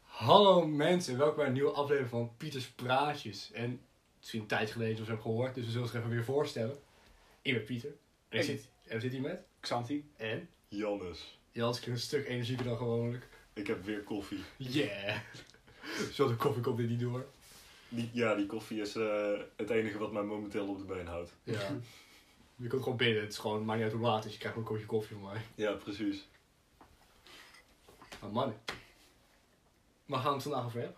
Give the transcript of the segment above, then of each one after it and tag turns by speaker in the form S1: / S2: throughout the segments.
S1: Hallo mensen, welkom bij een nieuwe aflevering van Pieters Praatjes. En het is een tijd geleden of zo gehoord, dus we zullen ons even weer voorstellen. Ik ben Pieter. En, ik
S2: Ik-
S1: zit, en we zitten hier met.
S2: Xanti.
S1: En?
S3: Jannes,
S1: Jans klinkt een stuk energieker dan gewoonlijk.
S3: ik heb weer koffie.
S1: Yeah! Zo de koffie komt dit niet door.
S3: Die, ja, die koffie is eh, het enige wat mij momenteel op de been houdt.
S1: Ja. Je komt gewoon binnen, het is gewoon, maakt niet uit hoe laat het is, je krijgt gewoon een kopje koffie van mij.
S3: Ja, precies.
S1: Maar mannen, waar gaan we het vandaag over hebben?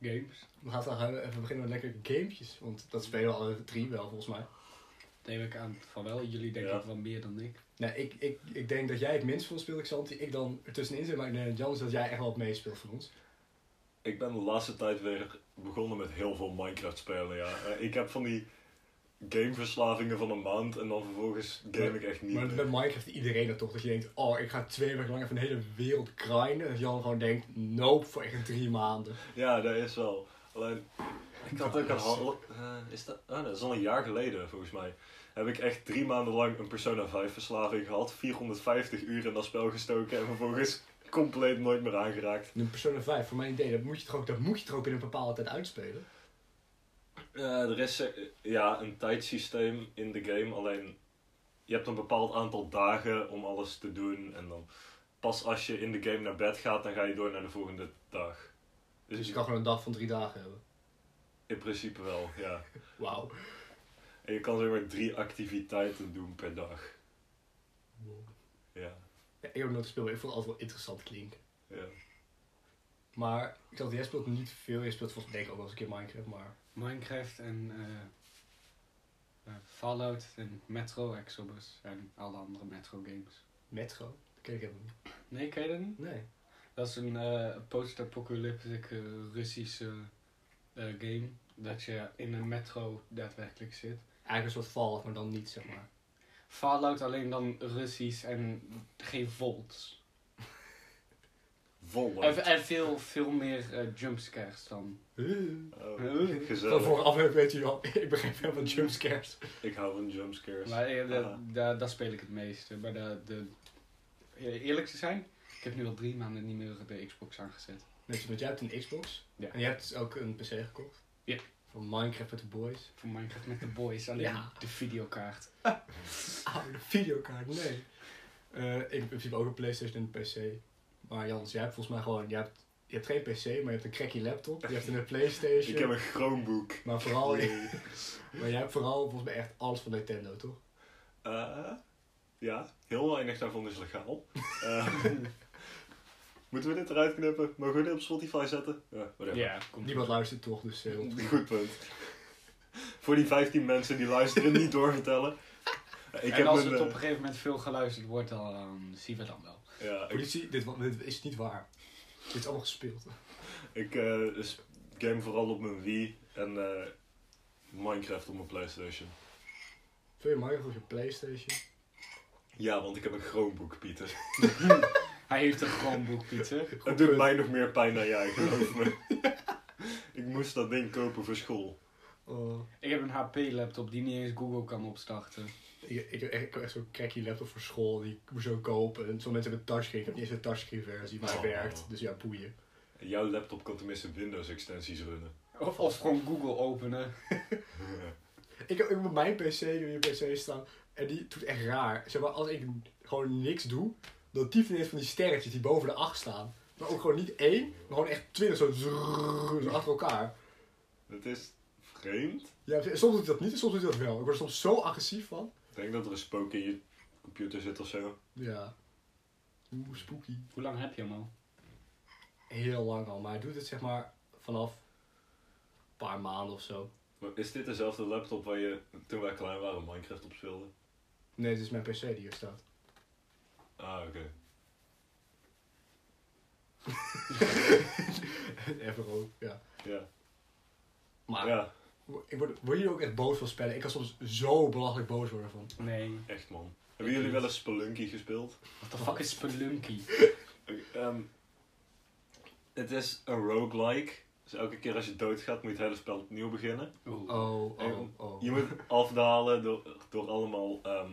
S2: Games.
S1: We gaan vandaag even beginnen met lekkere gamepjes, want dat spelen we alle drie wel volgens mij.
S2: Neem ik aan van wel. Jullie denken
S3: Ja.
S2: wel meer dan ik.
S1: Nou, ik, ik, ik denk dat jij het minst veel speelt, Xanti. Ik dan ertussenin zit, maar ik denk dat Jan is dat jij echt wel het meest speelt van ons.
S3: Ik ben de laatste tijd weer begonnen met heel veel Minecraft spelen, ja. Eh, ik heb van die gameverslavingen van een maand en dan vervolgens game ik echt niet
S1: maar
S3: meer.
S1: met Minecraft iedereen dat toch. Dat je denkt, oh, ik ga twee weken lang even een hele wereld grinden. En dat Jan gewoon denkt, nope, voor echt drie maanden.
S3: Ja, dat is wel. Alleen, ik had ook een hal- eh, is dat, ah, dat is al een jaar geleden volgens mij. Heb ik echt drie maanden lang een Persona 5 verslaving gehad. 450 uur in dat spel gestoken en vervolgens compleet nooit meer aangeraakt.
S1: Een Persona 5, voor mijn idee, dat moet je toch ook, dat moet je toch ook in een bepaalde tijd uitspelen?
S3: Eh, er is eh, ja, een tijdsysteem in de game, alleen je hebt een bepaald aantal dagen om alles te doen. En dan pas als je in de game naar bed gaat, dan ga je door naar de volgende dag.
S1: Dus je kan gewoon een dag van drie dagen hebben.
S3: in principe wel, ja.
S1: Wauw.
S3: En je kan zeg maar drie activiteiten doen per dag. Ja,
S1: Ja, ik heb nog nooit gespeeld, maar ik vond het altijd wel interessant klinken.
S3: ja.
S1: Maar ik dacht, jij speelt niet veel. Jij speelt volgens mij denk ik ook wel eens een keer Minecraft, maar...
S2: Minecraft en eh, eh, Fallout en Metro Exodus en alle andere Metro games.
S1: Metro? Dat ken ik helemaal niet.
S2: Nee, ken je dat niet?
S1: Nee.
S2: Dat is een eh post-apocalyptic eh, Russische eh, game. Dat je in een metro daadwerkelijk zit.
S1: Eigenlijk een soort Fallout, maar dan niet, zeg maar.
S2: Fallout alleen dan Russisch en geen volts.
S3: Vol.
S2: En, en veel, veel meer eh, jumpscares dan.
S3: Oh,
S1: Van
S3: gezellig.
S1: vorige aflevering weet je al, ik begrijp helemaal van jumpscares.
S3: Ik hou van jumpscares.
S2: Maar eh, da-
S3: Ah.
S2: da- daar speel ik het meeste. Maar de, de, eh, eerlijk te zijn, ik heb nu al drie maanden niet meer de Xbox aangezet.
S1: Net want jij hebt een Xbox.
S2: Ja.
S1: En je hebt dus ook een PC gekocht.
S2: Ja.
S1: Van Minecraft met de boys.
S2: Voor Minecraft met de boys, alleen
S1: Ja.
S2: de videokaart.
S1: Oude Oh, videokaart, nee. Eh, ik heb in principe ook een Playstation en een PC. Maar Jans, jij hebt volgens mij gewoon, jij hebt, je hebt geen PC, maar je hebt een cracky laptop. Je hebt een Playstation.
S3: Ik heb een Chromebook.
S1: Maar vooral, maar jij hebt vooral volgens mij echt alles van Nintendo, toch?
S3: Eh, ja, heel weinig daarvan is legaal. Eh, moeten we dit eruit knippen? Mogen we dit op Spotify zetten? Ja, whatever.
S2: Ja, kom.
S1: Niemand luistert toch, dus... eh, ont-
S3: Goed punt. Voor die 15 mensen die luisteren, niet doorvertellen. Eh, ik
S2: en
S3: heb
S2: als
S3: een,
S2: het op
S3: eh,
S2: een gegeven moment veel geluisterd wordt, dan ehm, zien we dan wel.
S3: ja, ik,
S1: politie, dit, wa- dit is niet waar. Dit is allemaal gespeeld.
S3: ik eh, s- game vooral op mijn Wii en eh, Minecraft op mijn Playstation.
S1: Veel je Minecraft op je Playstation?
S3: Ja, want ik heb een Chromebook, Pieter.
S2: Hij heeft een Chromebook, Pieter.
S3: Het doet mij nog meer pijn dan jij, geloof me. ik moest dat ding kopen voor school.
S1: Oh.
S2: Ik heb een HP-laptop die niet eens Google kan opstarten.
S1: Ik, ik, heb echt- ik heb echt zo'n cracky laptop voor school, die ik moest zo kopen. En sommige mensen hebben touchscreen, ik heb niet eens een touchscreen versie, maar hij
S3: Oh.
S1: werkt. Dus ja, boeien.
S3: Jouw laptop kan tenminste Windows-extensies runnen.
S2: Of, of gewoon Google openen.
S1: Ik heb ook op mijn pc, nu pc staan, en die doet echt raar. Zeg maar, als ik gewoon niks doe, dan tief ineens van die sterretjes die boven de acht staan. Maar ook gewoon niet één, maar gewoon echt twintig, zo, zrrrr, zo achter elkaar.
S3: Dat is vreemd.
S1: Ja, en soms doet hij dat niet en soms doet hij dat wel. Ik word er soms zo agressief van.
S3: Ik denk dat er een spook in je computer zit of zo.
S1: Ja. Oeh, spooky.
S2: Hoe lang heb je hem al?
S1: Heel lang al, maar hij doet het zeg maar vanaf een paar maanden of zo.
S3: Maar is dit dezelfde laptop waar je toen wij klein waren Minecraft op speelde?
S1: Nee, dit is mijn pc die hier staat.
S3: Ah, oké.
S1: Even ook, ja.
S3: Ja.
S1: Maar
S3: ja,
S1: ik word, word je ook echt boos van spellen? Ik kan soms zo belachelijk boos worden van.
S2: Nee.
S3: echt man. Hebben jullie wel eens Spelunky gespeeld?
S2: What the fuck is Spelunky?
S3: Oké, ehm, het is een roguelike. Dus elke keer als je doodgaat moet je het hele spel opnieuw beginnen.
S2: Oeh.
S1: Oh, oh, oh.
S3: Je moet afdalen door, door allemaal ehm,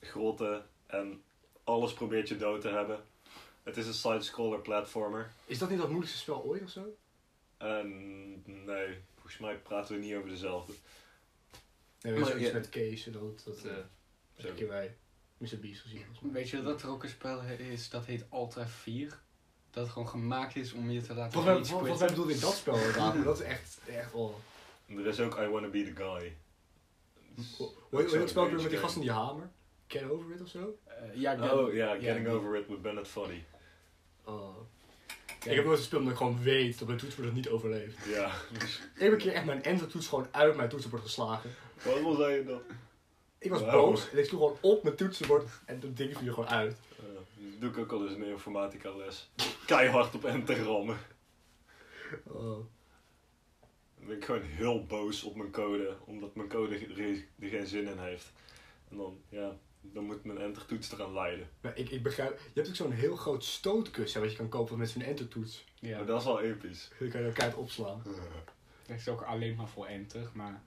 S3: grotten en alles probeert je dood te hebben. Het is een side-scroller platformer.
S1: Is dat niet dat moeilijkste spel ooit of zo?
S3: En nee, volgens mij praten we niet over dezelfde.
S1: Nee, we
S3: Maar,
S1: hebben iets
S3: ja.
S1: met Kees en dat. dat eh, dat
S3: Zo.
S1: een keer bij Mr. Beast gezien. volgens mij.
S2: Weet je dat er ook een spel he- is dat heet Alta 4? Dat gewoon gemaakt is om je te laten
S1: Volgens mij,
S2: rage
S1: vol- volgens
S2: quitten.
S1: mij bedoelde ik dat spel inderdaad, maar dat is echt, echt oh.
S3: En er is ook I Wanna Be The Guy.
S1: Hoe hoe heet dat spel ook weer met die
S3: Rage
S1: gasten die hamer? Get over it of zo?
S2: Eh, ja, ik
S3: Oh
S2: ben-
S3: ja,
S2: ja,
S3: Getting
S2: die-
S3: Over It with Bennett Foddy.
S1: Oh. Ik heb nooit gespeeld omdat ik gewoon weet dat mijn toetsenbord het niet overleeft.
S3: Ja,
S1: Eén keer echt mijn entertoets gewoon uit mijn toetsenbord geslagen.
S3: wat wil zei je dan?
S1: Ik was
S3: Wauw.
S1: boos en ik sloeg gewoon op mijn toetsenbord en dat ding viel er gewoon uit.
S3: Eh, dat doe ik ook al eens in een informatica les. Keihard op enter rammen.
S1: Oh.
S3: Dan ben ik gewoon heel boos op mijn code, omdat mijn code ge- er geen zin in heeft. En dan, ja, dan moet mijn entertoets eraan leiden.
S1: Maar ik, ik begrijp, je hebt ook zo'n heel groot stootkussen wat je kan kopen met zo'n entertoets.
S2: Ja,
S3: Maar dat is wel episch.
S1: Dan kan je elkaar opslaan.
S2: dat is ook alleen maar voor enter, maar...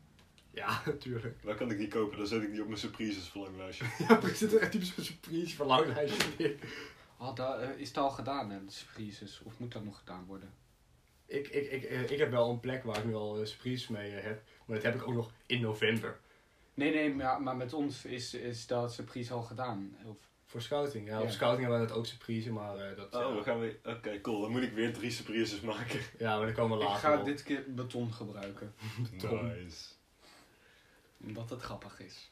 S1: Ja, natuurlijk.
S3: Waar kan ik die kopen? Dan zet ik die op mijn surprises verlanglijstje.
S1: Ja, er zit er echt typisch een surprise verlanglijstje in.
S2: Oh, dat, eh, is dat al gedaan, hè, de surprises? Of moet dat nog gedaan worden?
S1: Ik, ik, ik, eh, ik heb wel een plek waar ik nu al eh, surprises mee eh, heb. Maar dat heb ik ook nog in november.
S2: Nee, nee, maar, maar met ons is, is dat surprise al gedaan. Of,
S1: Voor scouting. Ja, op
S2: Ja.
S1: scouting hebben we dat ook surprises, maar eh, dat...
S3: Oh, we
S1: ja,
S3: gaan weer... Oké, cool. Dan moet ik weer drie surprises maken.
S1: ja, maar dan komen we
S2: ik
S1: later
S2: ga
S1: op.
S2: dit keer beton gebruiken,
S1: Tom.
S3: Nice.
S2: omdat het grappig is.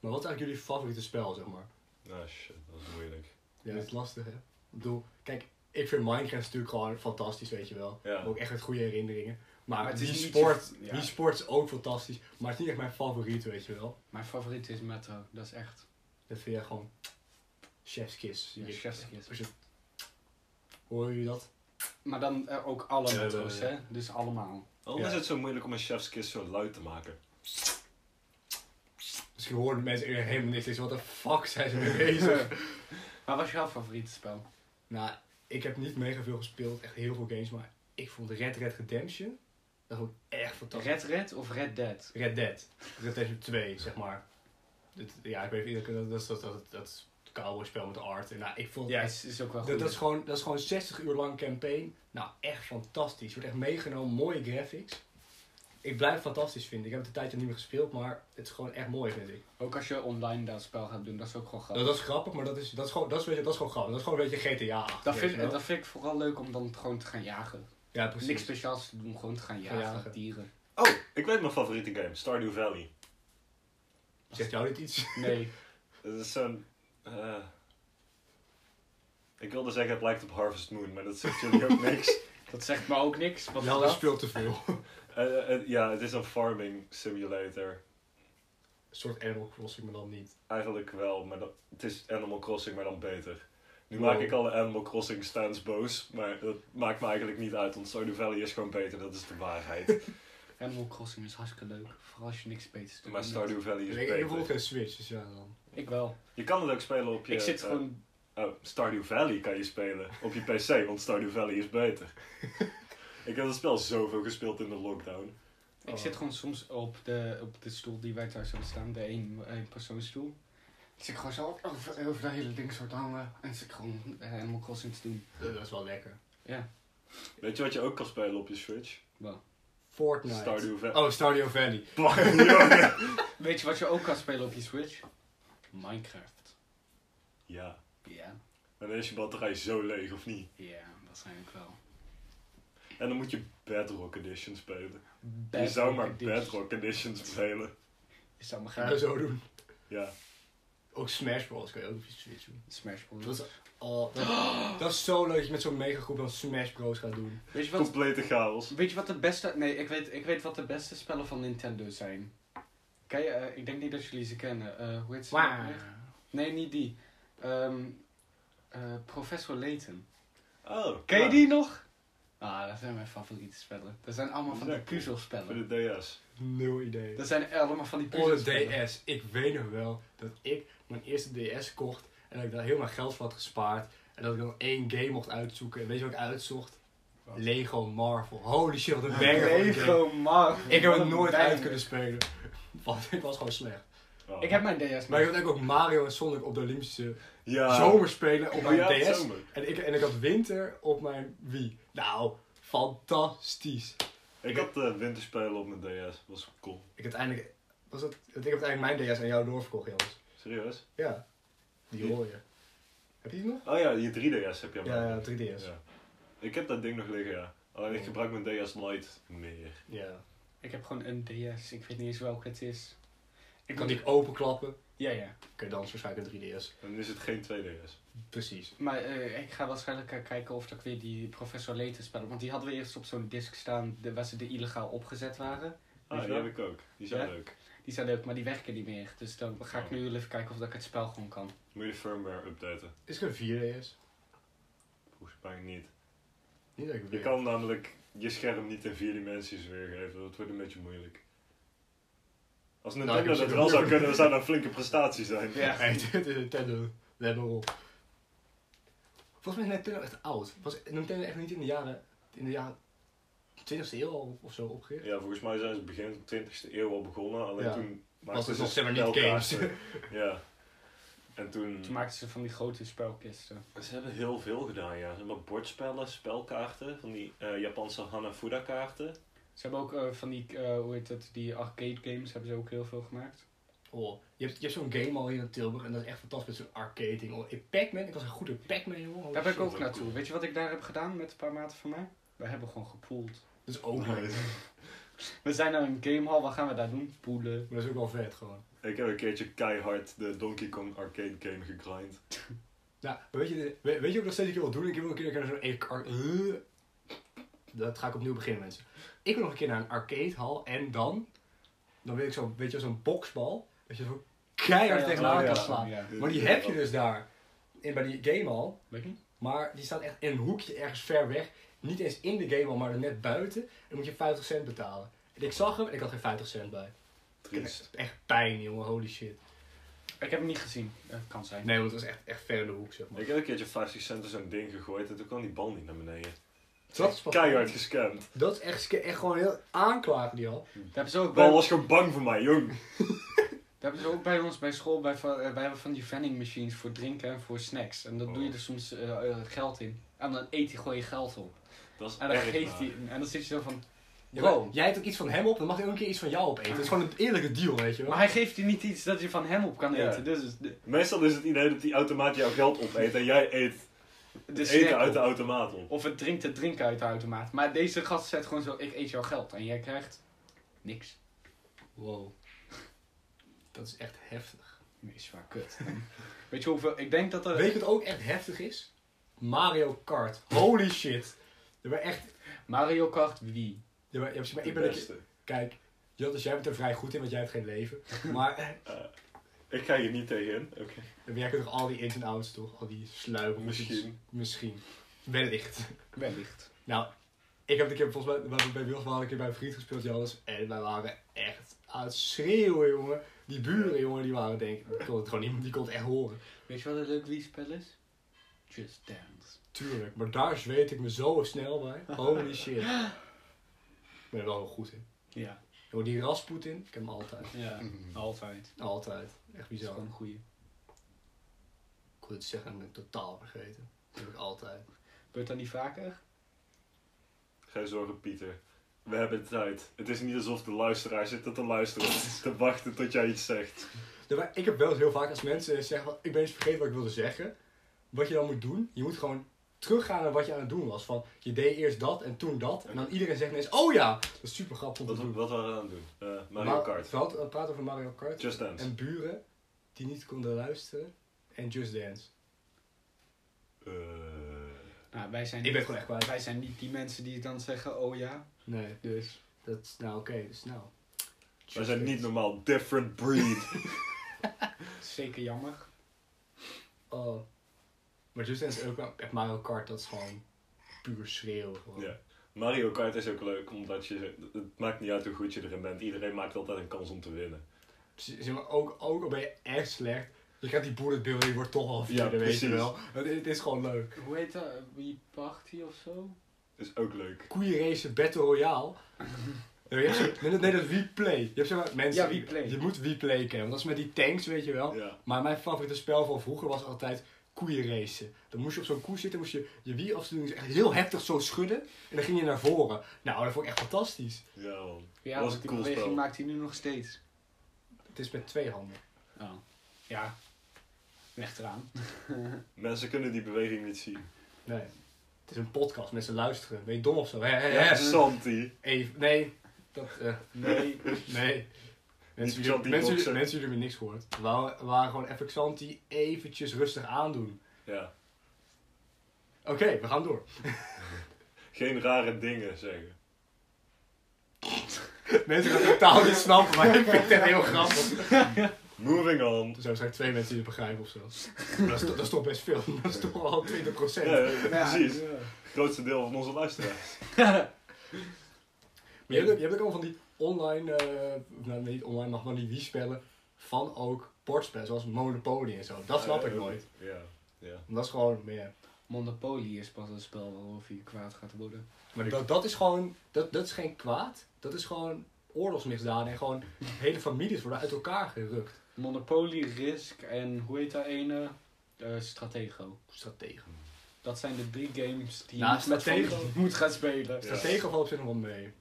S1: Maar wat is eigenlijk jullie favoriete spel, zeg maar?
S3: Ah shit, dat is moeilijk.
S1: Ja, dat is lastig, hè? Ik bedoel, kijk, ik vind Minecraft natuurlijk gewoon fantastisch, weet je wel.
S3: Ja.
S1: Ook echt met goede herinneringen. Maar,
S2: Maar het is
S1: Ah, die,
S2: niet
S1: sport,
S2: je- ja.
S1: die sport is ook fantastisch. Maar het is niet echt mijn favoriet, weet je wel.
S2: Mijn favoriet is Metro, dat is echt...
S1: Dat vind jij gewoon... Chef's kiss.
S2: Ja,
S1: Je-
S2: chef's kiss.
S1: als je- Hoor jullie dat?
S2: Maar dan eh, ook alle
S1: Ja,
S2: metro's,
S1: ja, ja.
S2: hè? Dus allemaal.
S3: Waarom is
S1: Ja.
S3: het zo moeilijk om een chef's kiss zo luid te maken?
S1: Misschien horen mensen er helemaal niks. Wat de fuck zijn ze mee bezig?
S2: Maar wat is jouw favoriete spel?
S1: nou, ik heb niet mega veel gespeeld. Echt heel veel games. Maar ik vond Red Red Redemption... Dat vond ik echt fantastisch.
S2: Red Red of Red Dead?
S1: Red Dead. Red Dead 2, zeg maar. Dit- ja, ik weet niet, dat, dat, is dat, dat, dat cowboy spel met de art. En, nou, ik vond,
S2: Ja, is, is ook wel goed.
S1: dat, dat, is gewoon, dat is gewoon 60 uur lang campaign. Nou, echt fantastisch. Je wordt echt meegenomen, mooie graphics. Ik blijf het fantastisch vinden. Ik heb het een tijdje niet meer gespeeld, maar het is gewoon echt mooi, vind ik.
S2: Ook als je online dat spel gaat doen, dat is ook gewoon
S1: Dat,
S2: grappig.
S1: dat is grappig, maar dat is, dat, is gewoon, dat, is, weet je, dat is gewoon grappig. Dat is gewoon een beetje GTA. -achtig,
S2: Dat
S1: weet
S2: vind,
S1: je wel.
S2: dat vind ik vooral leuk om dan gewoon te gaan jagen.
S1: ja, precies.
S2: Niks speciaals te doen, gewoon te gaan
S1: Gaan
S2: jagen.
S1: jagen.
S2: Dieren.
S3: Oh, ik weet mijn favoriete game, Stardew Valley.
S1: Zegt jou dit iets?
S2: Nee.
S3: Het is zo'n. eh, ik wilde zeggen, het lijkt op Harvest Moon, maar dat zegt jullie ook niks.
S2: Dat zegt me ook niks. Wat
S1: Ja,
S2: is
S1: dat
S2: dat?
S1: speelt te veel.
S3: Eh, eh, ja, het is een farming simulator.
S1: Een soort Animal Crossing, maar dan niet.
S3: Eigenlijk wel, maar dat, het is Animal Crossing, maar dan beter. Nu
S1: Wow.
S3: maak
S2: Oh.
S3: ik alle Animal Crossing stands boos, maar dat maakt me eigenlijk niet uit, want Stardew Valley is gewoon beter, dat is de waarheid.
S2: Animal Crossing is hartstikke leuk. Vooral als je niks beters te doen
S3: maar
S2: hebt.
S3: Stardew Valley is
S1: Ik heb bijvoorbeeld
S3: beter.
S1: geen Switch, dus ja dan.
S2: Ik wel.
S3: Je kan het ook spelen op je...
S2: ik zit
S3: eh,
S2: gewoon...
S3: Oh, Stardew Valley kan je spelen op je PC, want Stardew Valley is beter. ik heb dat spel zoveel gespeeld in de lockdown.
S2: Ik zit gewoon soms op de, op de stoel die wij thuis hebben staan, de één, één persoonsstoel. Dan zit ik gewoon zo over, over dat hele ding zo te hangen. En zit ik gewoon eh, Animal Crossing te doen.
S1: Dat is wel lekker.
S2: Ja,
S3: Weet je wat je ook kan spelen op je Switch?
S2: wel.
S1: Fortnite.
S3: Stardew Valley.
S1: Oh, Stardew Valley.
S2: Oh. Weet je wat je ook kan spelen op je Switch? Minecraft.
S3: Ja.
S2: Ja.
S3: En dan is je batterij zo leeg, of niet?
S2: Ja, waarschijnlijk wel.
S3: En dan moet je Bedrock Edition spelen. je zou maar Bedrock Edition spelen.
S2: Je zou maar
S1: Gaan we
S2: geen
S1: zo doen.
S3: Ja.
S1: Ook Smash Bros. kan je ook op je Switch doen.
S2: Smash Bros.
S1: Dat is, oh, dat, dat is zo leuk dat je met zo'n megagroep als Smash Bros. gaat doen.
S2: Weet je wat,
S3: Complete chaos.
S2: weet je wat de beste... Nee, ik weet, ik weet wat de beste spellen van Nintendo zijn. Kijk, eh, ik denk niet dat jullie ze kennen. Eh, hoe heet ze? nou weer? Nee, niet die. Ehm, eh, Professor Layton.
S3: Oh.
S2: Ken je
S3: ja.
S2: die nog? Ah, dat zijn mijn favoriete spellen. Dat zijn allemaal van die
S3: Lekker. Voor
S2: puzzelspellen.
S3: de DS.
S1: Nul idee.
S2: Dat zijn allemaal van die
S1: Voor
S2: puzzelspellen.
S1: de DS. Ik weet nog wel dat ik mijn eerste DS kocht en dat ik daar heel mijn geld voor had gespaard. En dat ik dan één game mocht uitzoeken. En weet je wat ik uitzocht?
S2: Wat?
S1: Lego Marvel. Holy shit,
S2: Ah,
S1: wat een banger. van een game.
S2: Lego Marvel.
S1: Ik heb
S2: Wat
S1: het
S2: een
S1: nooit
S2: banger.
S1: uit kunnen spelen. Want ik was gewoon slecht.
S3: Oh, Oh.
S2: Ik heb mijn DS
S1: Maar
S2: nog.
S1: ik had ook Mario en Sonic op de Olympische
S3: ja.
S1: zomerspelen op
S3: Oh
S1: mijn
S3: ja, het
S1: DS.
S3: zomer.
S1: En ik, en ik had winter op mijn Wii. Nou, fantastisch.
S3: Ik had de winterspelen op mijn DS. was cool.
S1: Ik heb uiteindelijk, was dat, ik heb uiteindelijk mijn DS aan jou doorverkocht, Jans.
S3: Serieus?
S1: Ja, die hoor je. Heb je die nog?
S3: Oh ja, je 3DS heb je aan
S1: Ja,
S3: mij.
S1: ja 3DS.
S3: Ja. Ik heb dat ding nog liggen, ja. Alleen
S2: Oh.
S3: ik gebruik mijn DS Lite meer.
S1: Ja.
S2: Ik heb gewoon een DS. Ik weet niet eens welke het is.
S1: Ik
S2: Ik
S1: kan
S2: kan
S1: die openklappen.
S2: Ja, ja.
S1: Oké, dan is waarschijnlijk een 3DS.
S3: Dan is het geen 2DS.
S1: Precies.
S2: Maar eh, ik ga waarschijnlijk eh, kijken of dat ik weer die Professor Layton spel. Want die hadden we eerst op zo'n disc staan de, waar ze de illegaal opgezet waren. Weet
S3: Ah,
S2: je
S3: die
S2: wel?
S3: heb ik ook. Die zijn
S2: Ja?
S3: leuk.
S2: Die zijn leuk, maar die werken niet meer. Dus dan
S1: Oh.
S2: ga ik nu even kijken of dat ik het spel gewoon kan.
S3: Moet je de firmware updaten?
S1: Is er een 4DS?
S3: Volgens mij niet.
S1: Niet dat ik
S3: Je
S1: weet.
S3: kan namelijk je scherm niet in vier dimensies weergeven. Dat wordt een beetje moeilijk. Als
S1: Nou,
S3: Nintendo
S1: ik heb
S3: dat
S1: ze-
S3: wel zou kunnen, dan zou dat een flinke prestatie zijn.
S2: Ja.
S1: Hey, dit is Nintendo. Let maar op. Volgens mij is Nintendo echt oud. Was Nintendo echt niet in de jaren... In de jaren... 20e eeuw al of zo opgericht?
S3: Ja, volgens mij zijn ze begin 20e eeuw al begonnen. Alleen
S1: Ja.
S3: toen
S1: Was
S3: maakten
S1: het
S3: ze
S1: nog zeg maar niet
S3: spelkaarten. Ja. En toen...
S1: Hmm.
S2: Toen maakten ze van die grote spelkisten.
S3: Ze hebben heel veel gedaan, ja. Ze hebben bordspellen, spelkaarten, van die eh, Japanse Hanafuda kaarten.
S2: Ze hebben ook eh, van die, eh, hoe heet dat, die arcade games hebben ze ook heel veel gemaakt.
S1: Oh, je hebt, je hebt zo'n game al hier in Tilburg en dat is echt fantastisch met zo'n arcade ding. Oh, in Pac-Man, ik was een goede Pac-Man jongen. Holy
S2: Daar ben ik
S1: shit.
S2: ook naartoe. Weet je wat ik daar heb gedaan met een paar maten van mij? We hebben gewoon gepoeld.
S1: Dat is ook leuk.
S2: We zijn naar een gamehall, wat gaan we daar doen? Poelen.
S1: Maar dat is ook wel vet gewoon.
S3: Ik heb een keertje keihard de Donkey Kong arcade game gegrind.
S1: Nou, maar weet je, de- weet, weet je ook nog steeds dat ik wil doen? Ik wil een keer naar zo'n e- ar- Eh. Dat ga ik opnieuw beginnen mensen. Ik wil nog een keer naar een arcadehal en dan, dan wil ik zo'n, weet je, wel, zo'n boksbal. Dat je zo keihard tegen
S3: ja,
S1: elkaar
S3: ja.
S1: kan slaan.
S2: Ja.
S1: Maar die heb je dus daar. In, bij die gamehall.
S2: Weet niet?
S1: Maar die staat echt in een hoekje ergens ver weg. Niet eens in de game al, maar er net buiten. En dan moet je 50 cent betalen. En ik zag hem en ik had geen 50 cent bij. Ik heb
S3: Triest.
S1: echt, echt pijn, jongen. Holy shit.
S2: Ik heb hem niet gezien. Eh, kan zijn.
S1: Nee, want het was echt, echt ver in de hoek, zeg maar.
S3: Ik heb een keertje 50 cent in zo'n ding gegooid en toen kwam die bal niet naar beneden.
S1: Dat is,
S3: Keihard gescamd.
S1: dat is echt, sca- echt gewoon heel aanklagen, die al.
S2: Daar hebben ze ook
S3: De
S2: bij,
S3: bal Oh, was gewoon bang voor mij, jong.
S2: daar hebben ze ook bij ons bij school, bij, van- eh, wij hebben van die vending machines voor drinken en voor snacks. En dan
S3: Oh.
S2: doe je er soms eh, eh, geld in. En dan eet hij gewoon je geld op.
S3: Dat is
S2: En dan
S3: erg
S2: geeft
S3: naar.
S2: hij. En dan zit je zo van.
S1: Ja,
S2: Wow.
S1: maar Jij hebt ook iets van hem op, dan mag hij ook een keer iets van jou opeten. Dat is gewoon een eerlijke deal, weet je wel.
S2: Maar hij geeft je niet iets dat je van hem op kan
S3: Ja.
S2: eten. Dus is de,
S3: Meestal is het idee dat die automaat jouw geld opeet en jij eet
S2: de
S3: het
S2: snack
S3: eten uit de
S2: op.
S3: automaat op.
S2: Of het drinkt het drinken uit de automaat. Maar deze gast zet gewoon zo: ik eet jouw geld. En jij krijgt niks.
S1: Wow. Dat is echt heftig.
S2: Nee, is waar kut. Weet je hoeveel? Ik denk dat er.
S1: Weet je wat ook echt heftig is? Mario Kart. Holy shit. Er waren echt...
S2: Mario Kart wie?
S1: er waren- ja, maar
S3: De
S1: ik ben een keer-
S3: beste.
S1: Kijk, Jottes, jij bent er vrij goed in, want jij hebt geen leven. Maar eh,
S3: Ik ga hier niet tegen in. Oké.
S1: jij kent toch al die ins en outs, toch? Al die sluipen.
S3: Misschien.
S1: Misschien. Wellicht.
S2: Wellicht.
S1: Nou, ik heb een keer, volgens mij, waar we bij Wilf waren, een keer bij een vriend gespeeld, Jonas. En wij waren echt aan het schreeuwen, jongen. Die buren, jongen, die waren denk ik, die kon het gewoon niet, die kon het echt horen.
S2: Weet je wat een leuk Wii-spel is? Just Dance.
S1: Tuurlijk, maar daar zweet ik me zo snel bij. Holy shit. Ik ben er wel heel goed in.
S2: Ja,
S1: Jongen, die Rasputin, ik heb hem altijd.
S2: ja altijd.
S1: Altijd. Echt
S2: Dat is
S1: bizar.
S2: gewoon een goeie.
S1: Ik wil het zeggen, dat ben ik totaal vergeten. Dat heb ik altijd.
S2: Gebeurt dat niet vaker?
S3: Geen zorgen, Pieter. We hebben de tijd. Het is niet alsof de luisteraar zit tot te luisteren, te wachten tot jij iets zegt.
S1: Ja, maar ik heb wel eens heel vaak als mensen zeggen, van, ik ben eens vergeten wat ik wilde zeggen. Wat je dan moet doen, je moet gewoon teruggaan naar wat je aan het doen was. Van, je deed eerst dat en toen dat. En dan iedereen zegt ineens, oh ja! Dat is super grappig om te
S3: Wat,
S1: doen.
S3: wat waren we aan het doen? Eh, Mario
S1: Maar-
S3: Kart.
S1: Vooral het praten over Mario Kart.
S3: Just Dance.
S1: En buren die niet konden luisteren. En Just Dance.
S3: Eh,
S2: Nou, wij zijn,
S1: Ik ben gewoon echt kwaad.
S2: wij zijn niet die mensen die dan zeggen, oh ja.
S1: Nee,
S2: Dus.
S1: dat is nou oké. dus nou.
S3: wij
S1: Just
S3: zijn niet
S1: Dance.
S3: normaal. Different breed.
S2: Zeker jammer.
S1: Oh. Maar Just Dance is ook wel- echt Mario Kart, dat is gewoon puur schreeuwen. Gewoon.
S3: Ja. Mario Kart is ook leuk, omdat je... Het maakt niet uit hoe goed je erin bent. Iedereen maakt altijd een kans om te winnen.
S1: Z- Zeg maar, ook, ook al ben je echt slecht, je krijgt die bullet bill en je wordt toch al
S3: Ja,
S1: vierde, weet je
S3: precies.
S1: wel. Het, het is gewoon leuk.
S2: Hoe heet dat? Wie Party of zo?
S3: Is ook leuk.
S1: Koeienrace Battle Royale. Nee, je hebt zo- nee, dat- nee, dat Wii Play. Je hebt zeg maar mensen...
S2: Ja, Wii Play.
S1: Je moet Wii Play kennen, want dat is met die tanks, weet je wel.
S3: Ja.
S1: Maar mijn favoriete spel van vroeger was altijd koeienracen. Dan moest je op zo'n koe zitten, moest je je Wii afsturen, echt heel heftig zo schudden. En dan ging je naar voren. Nou, dat vond ik echt fantastisch.
S3: Ja, man.
S2: Ja,
S3: Dat
S2: dat
S3: is een
S2: die
S3: cool
S2: beweging
S3: spel.
S2: maakt hij nu nog steeds.
S1: Het is met twee handen.
S2: Oh. Ja. Weg eraan.
S3: Mensen kunnen die beweging niet zien.
S1: Nee. Het is een podcast, mensen luisteren. Ben je dom of zo? Hè, hè, hè?
S3: Ja, Santi.
S1: Even- nee. Dat, eh,
S2: Nee.
S1: nee. Mensen,
S3: Niet
S1: jullie,
S3: Xanti
S1: mensen,
S3: boxen.
S1: jullie, mensen jullie hebben niks gehoord. We wou- we waren gewoon even Xanti eventjes rustig aandoen.
S3: Ja.
S1: Oké, we gaan door.
S3: Geen rare dingen zeggen.
S1: Mensen gaan het totaal niet snappen, maar ik vind het heel grappig.
S3: Moving on.
S1: Er zijn waarschijnlijk twee mensen die het begrijpen of zo. Dat is, toch- dat is toch best veel. Dat is toch al 20
S3: Ja, precies. Het grootste deel van onze luisteraars.
S1: Maar je hebt, ook, je hebt ook allemaal van die online, eh nou niet online, maar van die Wii-spellen van ook bordspellen, zoals Monopoly en zo. Dat snap ik
S3: Eh,
S1: nooit.
S3: Ja. ja.
S1: Dat is gewoon meer...
S2: Monopoly is pas een spel waarover je kwaad gaat worden.
S1: Maar dat, dat is gewoon, dat, dat is geen kwaad. Dat is gewoon oorlogsmisdaden en gewoon hele families worden uit elkaar gerukt.
S2: Monopoly, Risk en hoe heet dat ene? Eh, Stratego.
S1: Stratego.
S2: Dat zijn de drie games die
S1: Nou,
S2: je niet met
S1: Stratego-
S2: familie moet gaan spelen.
S3: Ja.
S1: Stratego valt op zich nog wel mee.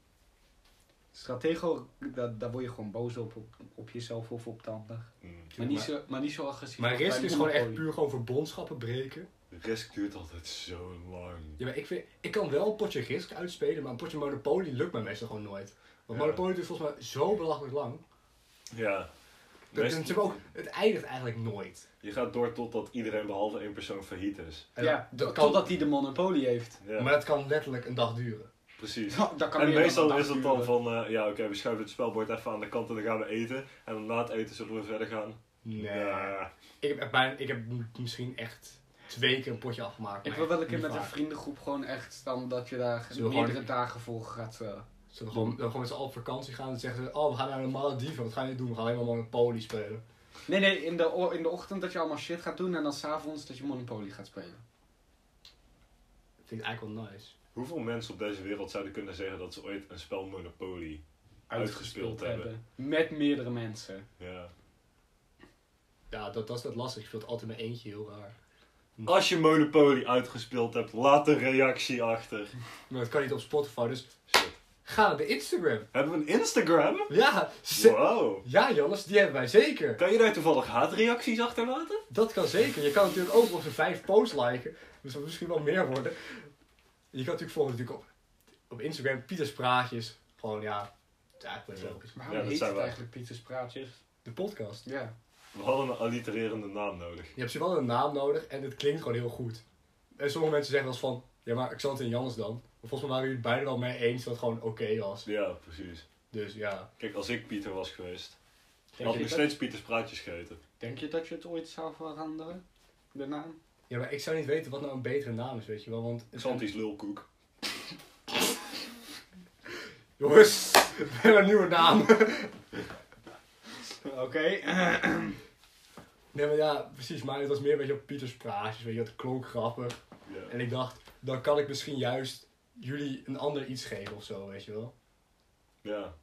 S2: Stratego, daar, daar word je gewoon boos op, op, op jezelf of op de ander.
S3: Mm.
S2: Maar niet zo, maar niet zo agressief.
S1: Maar
S2: als bij
S1: risk is gewoon echt
S2: Monopoly.
S1: puur gewoon verbondschappen breken.
S3: Risk duurt altijd zo lang.
S1: Ja, maar ik, vind, ik kan wel een potje risk uitspelen, maar een potje Monopoly lukt mij meestal gewoon nooit. Want
S3: Ja.
S1: Monopoly duurt volgens mij zo belachelijk lang.
S3: Ja.
S1: Dat,
S3: Meest-
S1: dat- ze hebben ook, het eindigt eigenlijk nooit.
S3: Je gaat door totdat iedereen behalve één persoon failliet is.
S1: En
S2: Ja,
S1: dat- dat kan,
S2: totdat hij de Monopoly heeft.
S3: Ja,
S1: Maar dat kan letterlijk een dag duren.
S3: precies.
S2: Dat kan
S3: En
S2: meer dan
S3: meestal
S2: een
S3: is
S2: dag
S3: het dan
S2: duren.
S3: van, eh, ja oké, we schuiven het spelbord even aan de kant en dan gaan we eten. En dan na het eten zullen we verder gaan.
S1: Nee.
S3: Ja.
S1: Ik, heb echt bijna, ik heb m- misschien echt twee keer een potje afgemaakt.
S2: Ik
S1: maar
S2: wil wel een
S1: echt
S2: keer
S1: niet
S2: met een
S1: vaak.
S2: vriendengroep gewoon echt dan dat je daar
S1: Zullen we
S2: meerdere
S1: gewoon-
S2: dagen voor gaat. eh,
S1: Zullen we gewoon, dat we gewoon met z'n allen op vakantie gaan en zeggen ze, oh we gaan naar de Malediven, wat gaan we doen? We gaan helemaal Monopoly spelen.
S2: Nee, nee, in de, o- in de ochtend dat je allemaal shit gaat doen en dan s'avonds dat je Monopoly gaat spelen.
S1: Dat vind ik eigenlijk wel nice.
S3: Hoeveel mensen op deze wereld zouden kunnen zeggen dat ze ooit een spel Monopoly... Uitgespeeld hebben.
S2: Met meerdere mensen.
S3: Ja.
S1: Ja, dat, dat is dat lastig. Ik speel het altijd met eentje heel raar.
S3: Als je Monopoly uitgespeeld hebt, laat een reactie achter.
S1: Maar dat kan niet op Spotify, dus
S3: Shit.
S1: ga naar de Instagram.
S3: Hebben we een Instagram?
S1: Ja, ze-
S3: Wow.
S1: ja Jannes, die hebben wij zeker.
S3: Kan je daar toevallig haatreacties achterlaten?
S1: Dat kan zeker. Je kan natuurlijk ook onze vijf posts liken. Dus dat moet misschien wel meer worden. Je kan natuurlijk volgen natuurlijk op, op Instagram Pieters Praatjes. Gewoon ja, het is eigenlijk best
S3: Ja.
S1: logisch.
S2: Waarom
S3: Ja, dat
S2: heet
S3: zijn
S2: het
S3: we.
S2: eigenlijk Pieters Praatjes?
S1: De podcast.
S2: Ja.
S3: We hadden een allitererende naam nodig.
S1: Je hebt ze wel een naam nodig en het klinkt gewoon heel goed. En sommige mensen zeggen wel eens van, ja maar Xante en Jannes dan. Maar volgens mij waren jullie het beiden wel mee eens dat het gewoon oké was.
S3: Ja, precies.
S1: Dus ja.
S3: Kijk, als ik Pieter was geweest,
S2: Denk
S3: had
S2: je,
S3: ik nog
S2: dat,
S3: steeds Pieters Praatjes gegeten.
S2: denk je dat je het ooit zou veranderen? De naam?
S1: Ja, maar ik zou niet weten wat nou een betere naam is, weet je wel. Want
S3: Xanti's lulkoek.
S1: Jongens, we hebben een nieuwe naam.
S2: Oké.
S1: Nee, maar ja, precies. Maar het was meer een beetje op Pieters praatjes, weet je. Het klonk grappig.
S3: Ja.
S1: En ik dacht, dan kan ik misschien juist jullie een ander iets geven of zo, weet je wel.
S3: ja.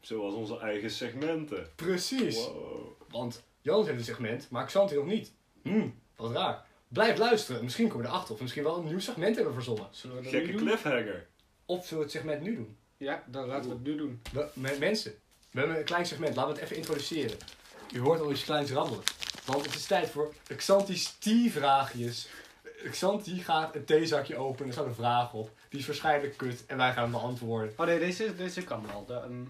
S3: Zoals onze eigen segmenten.
S1: Precies.
S3: Wow.
S1: Want Jans heeft een segment, maar Xanti nog niet. Hm, wat raar. Blijf luisteren. Misschien komen we erachter of we misschien wel een nieuw segment hebben verzonnen.
S2: Zullen we dat
S3: Gekke
S2: nu doen?
S3: cliffhanger.
S1: Of zullen we het segment nu doen?
S2: Ja, dan laten we het nu doen.
S1: We, me- mensen, we hebben een klein segment. Laten we het even introduceren. U hoort al iets kleins rammelen. Want het is tijd voor Xanti's T-vraagjes. Xanti gaat een theezakje openen. Er staat een vraag op. Die is waarschijnlijk kut. En wij gaan hem beantwoorden.
S2: Oh nee, deze, deze kan wel. De, ehm,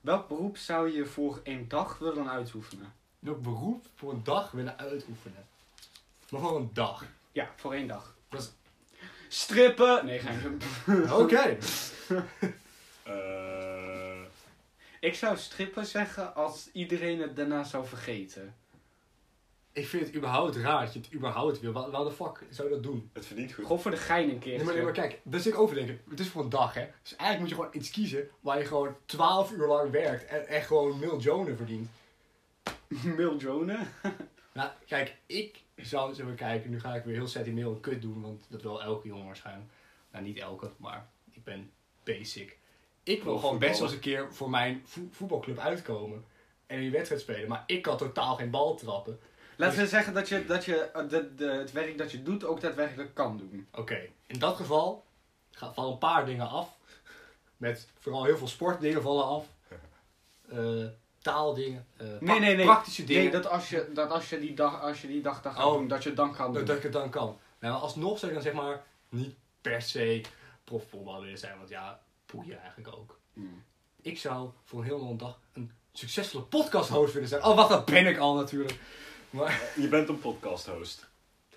S2: welk beroep zou je voor één dag willen uitoefenen?
S1: Welk beroep voor een dag willen uitoefenen? Maar voor een dag.
S2: Ja, voor één dag.
S1: Dat is-
S2: Strippen! Nee, geen.
S1: Oké.
S3: Eh,
S2: Ik zou strippen zeggen als iedereen het daarna zou vergeten.
S1: Ik vind het überhaupt raar dat je het überhaupt wil. Waar waar de fuck zou je dat doen?
S3: het verdient goed.
S2: Gewoon voor de gein een keer.
S1: Nee, maar, nee, maar kijk, daar zit ik over te denken. Het is voor een dag, hè. Dus eigenlijk moet je gewoon iets kiezen waar je gewoon 12 uur lang werkt en echt gewoon miljoenen verdient.
S2: Miljoenen.
S1: Nou, kijk, ik zou eens even kijken. Nu ga ik weer heel sentimenteel een kut doen, want dat wil elke jongen waarschijnlijk. Nou, niet elke, maar ik ben basic. Ik wil
S3: Wil
S1: gewoon best wel eens
S3: voetballen.
S1: een keer voor mijn vo- voetbalclub uitkomen. En in die wedstrijd spelen. Maar ik kan totaal geen bal trappen.
S2: Laten we zeggen dat je, dat je eh, de, de, het werk dat je doet ook daadwerkelijk kan doen.
S1: Oké, in dat geval gaan, vallen een paar dingen af. Met vooral heel veel sportdingen vallen af. Eh, taaldingen. eh, pra-
S2: nee, nee.
S1: Praktische dingen.
S2: Nee, dat als je, dat als je die dag, als je die dag dat gaat
S1: Oh.
S2: doen, dat je het dan kan doen.
S1: dat, dat ik het dan kan. Nou, maar alsnog zou ik dan zeg maar niet per se profvoetballer willen zijn. Want ja, poeie eigenlijk ook.
S2: Hmm.
S1: Ik zou voor een heel lange dag een succesvolle podcasthost willen zijn. Oh, wacht, dat ben ik al natuurlijk. Maar
S3: Je bent een podcasthost.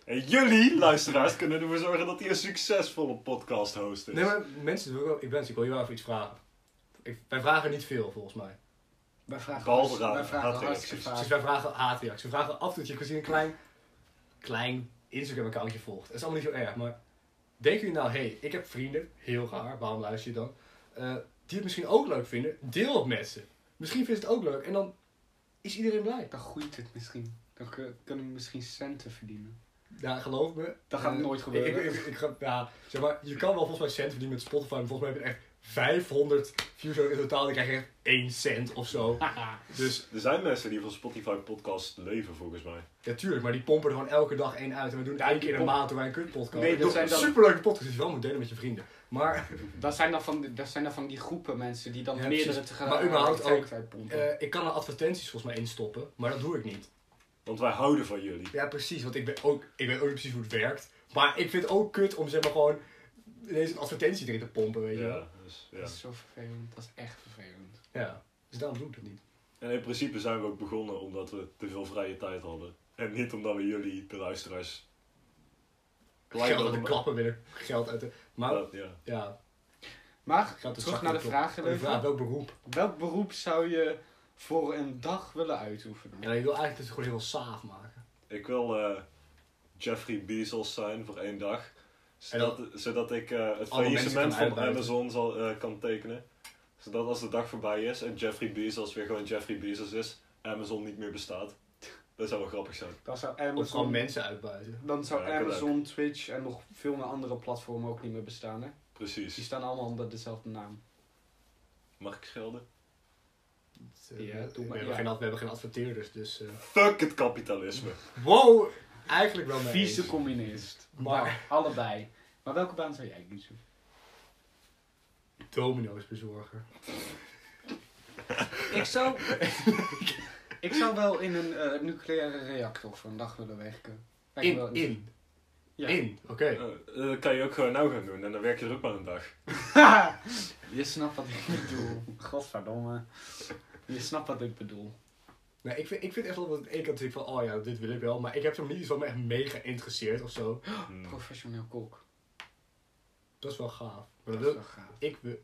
S3: En jullie, luisteraars, kunnen ervoor zorgen dat hij een succesvolle podcasthost
S2: Dus-
S3: is.
S1: nee, maar mensen, doen ook- ik ben ik wil je wel even iets vragen. Ik, wij vragen niet veel volgens mij.
S2: Wij vragen,
S3: Bal
S2: hartst-
S3: raden,
S2: wij vragen
S3: haatreacties.
S2: hartstikke
S1: Dus
S2: vaak.
S1: wij vragen haatreacties. We vragen af en toe dat je misschien een klein, klein Instagram-accountje volgt. Dat is allemaal niet zo erg, maar denken jullie nou, hé, hey, ik heb vrienden, heel raar, waarom luister je dan? eh, die het misschien ook leuk vinden, deel het met ze. Misschien vinden ze het ook leuk en dan is iedereen blij.
S2: Dan groeit het misschien. Dan kun- kunnen we misschien centen verdienen.
S1: Ja, geloof me.
S2: Dat gaat
S1: eh,
S2: nooit gebeuren.
S1: Ik, ik, ik, ik ga- ja, zeg maar, je kan wel volgens mij cent verdienen met Spotify, maar volgens mij heb je echt 500 views in totaal. Dan krijg je echt 1 cent of zo. Dus
S3: Er zijn mensen die van Spotify podcast leven, volgens mij.
S1: Ja, tuurlijk, maar die pompen er gewoon elke dag één uit. En we doen één keer een
S2: pompen-
S1: maand doen wij een kutpodcast.
S2: Nee, dat
S1: Nee, dat
S2: zijn
S1: zijn
S2: dan-
S1: superleuke podcast die je wel moet delen met je vrienden. Maar
S2: Dat zijn dan van, dat zijn dan van die groepen mensen die dan
S1: Ja,
S2: meerdere eh,
S1: precies.
S2: tegelijk
S1: Maar überhaupt ook,
S2: tegelijkertijd pompen.
S1: eh, ik kan er advertenties volgens mij instoppen, maar dat doe ik niet.
S3: Want wij houden van jullie.
S1: Ja, precies, want ik, ben ook, ik weet ook niet precies hoe het werkt. Maar ik vind het ook kut om zeg maar gewoon ineens een advertentie erin te pompen, weet je wel.
S3: Ja, dus, ja.
S2: Dat is zo vervelend. Dat is echt vervelend.
S1: Ja, dus daarom doe ik dat niet.
S3: En in principe zijn we ook begonnen omdat we te veel vrije tijd hadden. En niet omdat we jullie, de luisteraars...
S1: Geld uit de
S3: hadden-
S1: klappen willen, geld uit de... Maar,
S3: Dat- Ja.
S1: ja,
S2: Maar,
S1: geld uit de
S2: terug
S1: zak
S2: naar de
S1: kloppen.
S2: vraag,
S1: Oh, de
S2: Leuven.
S1: vraag, welk beroep?
S2: welk beroep zou je voor een dag willen uitoefenen?
S1: Ja, je wil eigenlijk dat ze gewoon heel saaf maken.
S3: Ik wil eh, Jeffrey Bezos zijn voor één dag.
S1: En
S3: Zodat,
S1: dan-
S3: zodat ik eh, het
S1: Alle mensen kan
S3: faillissement van
S1: uitbuiten.
S3: Amazon zal, eh, kan tekenen. Zodat als de dag voorbij is en Jeffrey Bezos weer gewoon Jeffrey Bezos is, Amazon niet meer bestaat. Dat zou wel grappig zijn.
S2: Dan zou
S1: Of gewoon
S2: Amazon,
S1: mensen uitbuiten.
S2: dan zou
S3: Ja, dat kan
S2: Amazon Twitch en nog veel meer andere platformen ook niet meer bestaan. Hè? Die
S3: Precies.
S2: staan allemaal onder dezelfde naam.
S3: Mag ik schelden?
S2: Ja, doe
S1: eh, we,
S2: maar,
S1: hebben
S2: ja.
S1: geen, ad- we hebben geen adverteerders, dus... eh,
S3: Fuck het kapitalisme.
S1: Wow, eigenlijk wel mee.
S2: Vieze
S1: eens.
S2: communist.
S1: Maar-
S2: Maar allebei. Maar welke baan zou jij kiezen?
S1: Domino's bezorger.
S2: Ik zou. ik zou wel in een eh, nucleaire reactor voor een dag willen werken. Lijkt me wel
S1: In, in,
S2: Ja.
S1: in. Oké.
S3: Eh, dat kan je ook gewoon nou gaan doen en dan werk je er ook maar een dag.
S2: Je snapt wat ik bedoel. Godverdomme. Je snapt wat ik bedoel.
S1: Nee, ik, vind, ik vind echt wel dat aan de ene kant denk ik van, oh ja, dit wil ik wel. Maar ik heb hem niet iets wat me echt mega interesseert of zo.
S3: Hmm.
S2: Professioneel kok.
S1: Dat is wel gaaf. Maar
S2: Dat
S1: dat
S2: is
S1: wil,
S2: wel gaaf.
S1: ik wil...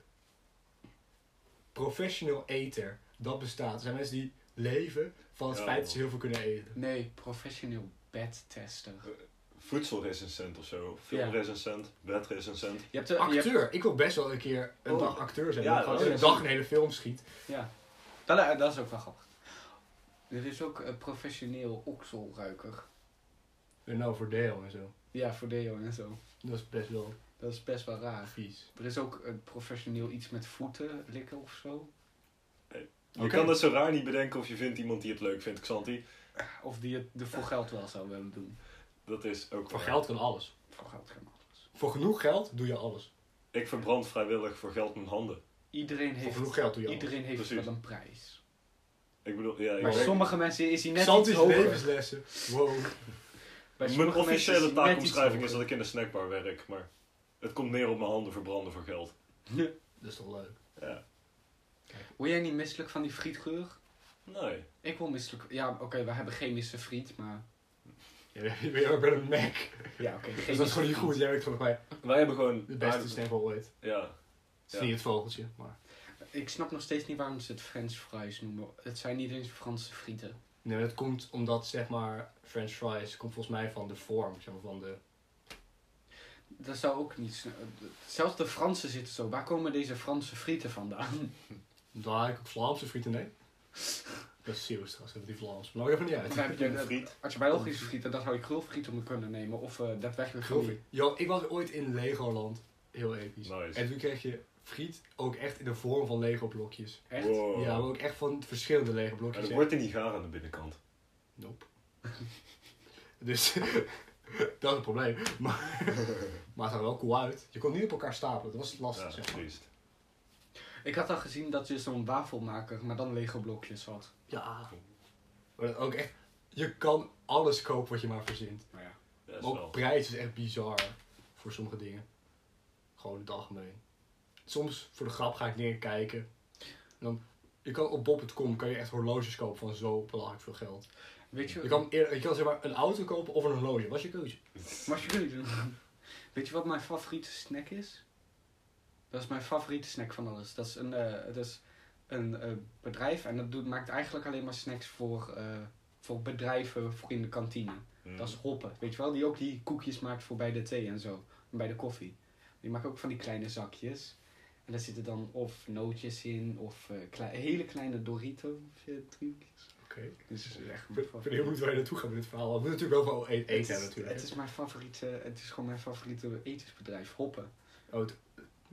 S1: Professional eter, dat bestaat. Er zijn mensen die leven van het
S3: Ja.
S1: feit dat ze heel veel kunnen eten.
S2: Nee, professioneel bedtester.
S3: Voedselrecensent of zo. Filmrecensent, bedrecensent.
S2: Je hebt de, je hebt,
S1: Acteur. Ik wil best wel een keer een
S3: Oh.
S1: dag acteur zijn.
S3: Ja,
S1: Ja, gewoon
S3: dat
S1: een
S2: is-
S1: dag een hele film schiet.
S2: ja. Dat, eh, dat is ook wel grappig. Er is ook eh, professioneel okselruiker.
S1: En nou voor deel en zo.
S2: Ja, voor deo en zo.
S1: Dat is best wel
S2: Dat is best wel raar.
S1: vies.
S2: Er is ook een professioneel iets met voeten likken of zo.
S3: Je
S1: Oké.
S3: kan dat zo raar niet bedenken of je vindt iemand die het leuk vindt, Xanti.
S2: Of die het er voor geld wel zou willen doen.
S3: Dat is ook
S1: Voor
S3: waar.
S1: geld kan alles.
S2: Voor geld kan alles.
S1: Voor genoeg geld doe je alles.
S3: Ik verbrand vrijwillig voor geld mijn handen.
S2: Iedereen
S1: Voor
S2: heeft,
S1: genoeg geld doe je alles.
S2: iedereen heeft
S3: Precies.
S2: wel een prijs.
S3: Ik bedoel, ja, ik
S2: Bij
S1: Maar
S3: werk-
S2: sommige mensen is hij net
S1: Santi's
S2: iets hoger.
S1: levenslessen. Wow.
S2: Bij
S3: Mijn
S2: sommige mensen is
S3: officiële
S2: hij net
S3: taakomschrijving
S2: iets
S3: is dat
S2: hoger.
S3: ik in de snackbar werk, maar het komt neer op mijn handen verbranden voor geld.
S1: Dat is toch leuk?
S3: Ja.
S2: Word jij niet misselijk van die frietgeur?
S3: Nee.
S2: Ik wil misselijk... Ja, oké, we hebben chemische friet, maar...
S1: Je bent ook bij een Mac.
S2: Ja, oké.
S1: Dus dat is gewoon niet goed. Jij werkt volgens mij
S3: Wij hebben gewoon...
S1: de beste
S3: aard-
S1: snackball ooit.
S3: Ja.
S1: Het is niet het vogeltje, maar...
S2: Ik snap nog steeds niet waarom ze het french fries noemen. Het zijn niet eens Franse frieten.
S1: Nee, maar dat komt omdat, zeg maar, french fries komt volgens mij van de vorm. Zeg maar, van de...
S2: Dat zou ook niet... sn- Zelfs de Fransen zitten zo. Waar komen deze Franse frieten vandaan?
S1: Daar heb ik ook Vlaamse frieten, nee? Dat is serieus trouwens, dat die Vlaams. Maar dat maakt even niet uit.
S2: Begrijp je? Dat-
S3: friet.
S2: Als je Belgische frieten, dan zou je krulfriet om kunnen nemen. Of eh daadwerkelijk
S1: Geloof ik. Yo, ik was ooit in Legoland. Heel episch.
S3: Nice.
S1: En toen kreeg je friet ook echt in de vorm van Lego blokjes.
S2: Echt?
S3: Wow.
S1: Ja, maar ook echt van verschillende Lego
S3: En
S1: blokjes.
S3: het
S1: hè.
S3: wordt er niet gaar aan de binnenkant.
S1: Nope. dus dat is een probleem. Maar, maar het zag er wel cool uit. Je kon niet op elkaar stapelen, dat was
S3: Ja,
S1: lastig. zeg maar.
S3: triest.
S2: Ik had al gezien dat je zo'n wafelmaker, maar dan Lego blokjes had.
S1: Ja. Maar dat ook echt, je kan alles kopen wat je maar verzint.
S2: Maar ja.
S3: Ja, is
S1: Maar
S3: wel.
S1: ook prijs is echt bizar voor sommige dingen. Gewoon in het algemeen. Soms voor de grap ga ik dingen kijken. En dan, je kan op bob.com kan je echt horloges kopen van zo belachelijk veel geld.
S2: Weet je,
S1: Je kan, eer- je kan zeg maar een auto kopen of een horloge, wat is je keuze.
S2: Wat jullie doen. Weet je wat mijn favoriete snack is? Dat is mijn favoriete snack van alles. Dat is een, eh, dat is een eh, bedrijf en dat doet, maakt eigenlijk alleen maar snacks voor, eh, voor bedrijven, voor in de kantine.
S1: Mhm.
S3: Hmm.
S2: Dat is Hoppen, weet je wel? Die ook die koekjes maakt voor bij de thee en zo. En bij de koffie. Die maakt ook van die kleine zakjes. En daar zitten dan of nootjes in, of eh, kle- hele kleine Dorito-trucjes.
S1: Oké.
S2: Dus het is echt
S1: Ik ben- ik
S2: mijn
S1: ben heel
S2: favoriete.
S1: benieuwd waar je naartoe gaat met dit verhaal. We moeten natuurlijk wel gewoon eten,
S2: Het
S1: eten
S2: is,
S1: natuurlijk.
S2: het is mijn favoriete, het is gewoon mijn favoriete etensbedrijf, Hoppen.
S1: Oh, het-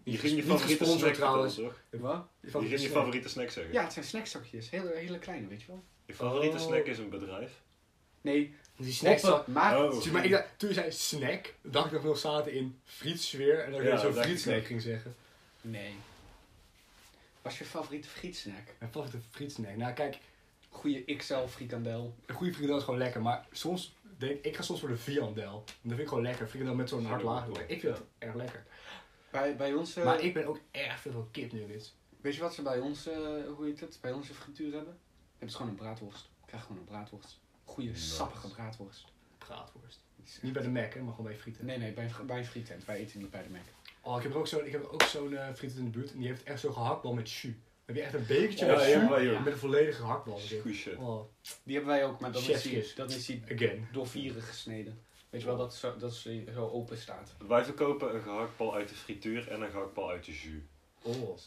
S3: Je ging je
S1: niet
S3: favoriete
S1: gesponsord
S3: snack
S1: trouwens.
S3: vertellen, toch?
S2: Wat?
S3: Je ging je favoriete snack zeggen.
S2: Ja, het zijn snackzakjes, hele, hele kleine, weet je wel.
S3: Je favoriete
S1: Oh.
S3: snack is een bedrijf.
S2: Nee,
S1: Die snacks.
S2: Hoppen maakt...
S3: Oh.
S1: Zie je, maar ik dacht, toen je zei snack, dacht ik nog wel zaten in frietsfeer. En dat ik
S3: Ja,
S1: weer zo'n
S3: dat dacht ik
S1: frietsnack
S3: ook.
S1: ging zeggen.
S2: Nee. Wat is je favoriete frietsnack?
S1: En vast een frietsnack. Nou kijk,
S2: Goeie XL frikandel.
S1: een goede frikandel is gewoon lekker. Maar soms denk ik, ik ga soms voor de viandel. Want dat vind ik gewoon lekker. Frikandel met zo'n hard laag. erbij. Ik vind het erg lekker.
S2: Bij, bij ons... eh,
S1: Maar ik ben ook erg veel van kipnuggets.
S2: Weet je wat ze bij ons, eh, hoe heet het, bij onze frituur hebben? Hebben ze gewoon een braadworst. Ik krijg gewoon een braadworst. Goeie,
S3: Nice.
S2: sappige braadworst.
S1: Braadworst.
S2: Die is echt-
S1: Niet bij de Mac, hè, maar gewoon bij frieten.
S2: Nee, nee, bij een, fri- bij een frietent. Wij eten niet bij de Mac.
S1: Oh, ik heb er ook zo'n ik heb er ook zo'n eh, friet in de buurt. En die heeft echt zo'n gehaktbal met jus. Dan heb je echt een bekertje
S3: Ja,
S1: met
S3: ja,
S1: jus.
S3: maar joh.
S1: Met een volledige gehaktbal.
S3: Goeie shit.
S1: Oh,
S2: Die hebben wij ook, maar dan is die,
S1: Chefkiss.
S2: dan is die
S1: again.
S2: door vieren gesneden. Weet je wel, dat, zo, dat ze zo open staat.
S3: Wij verkopen een gehaktbal uit de frituur en een gehaktbal uit de jus.
S1: Oh.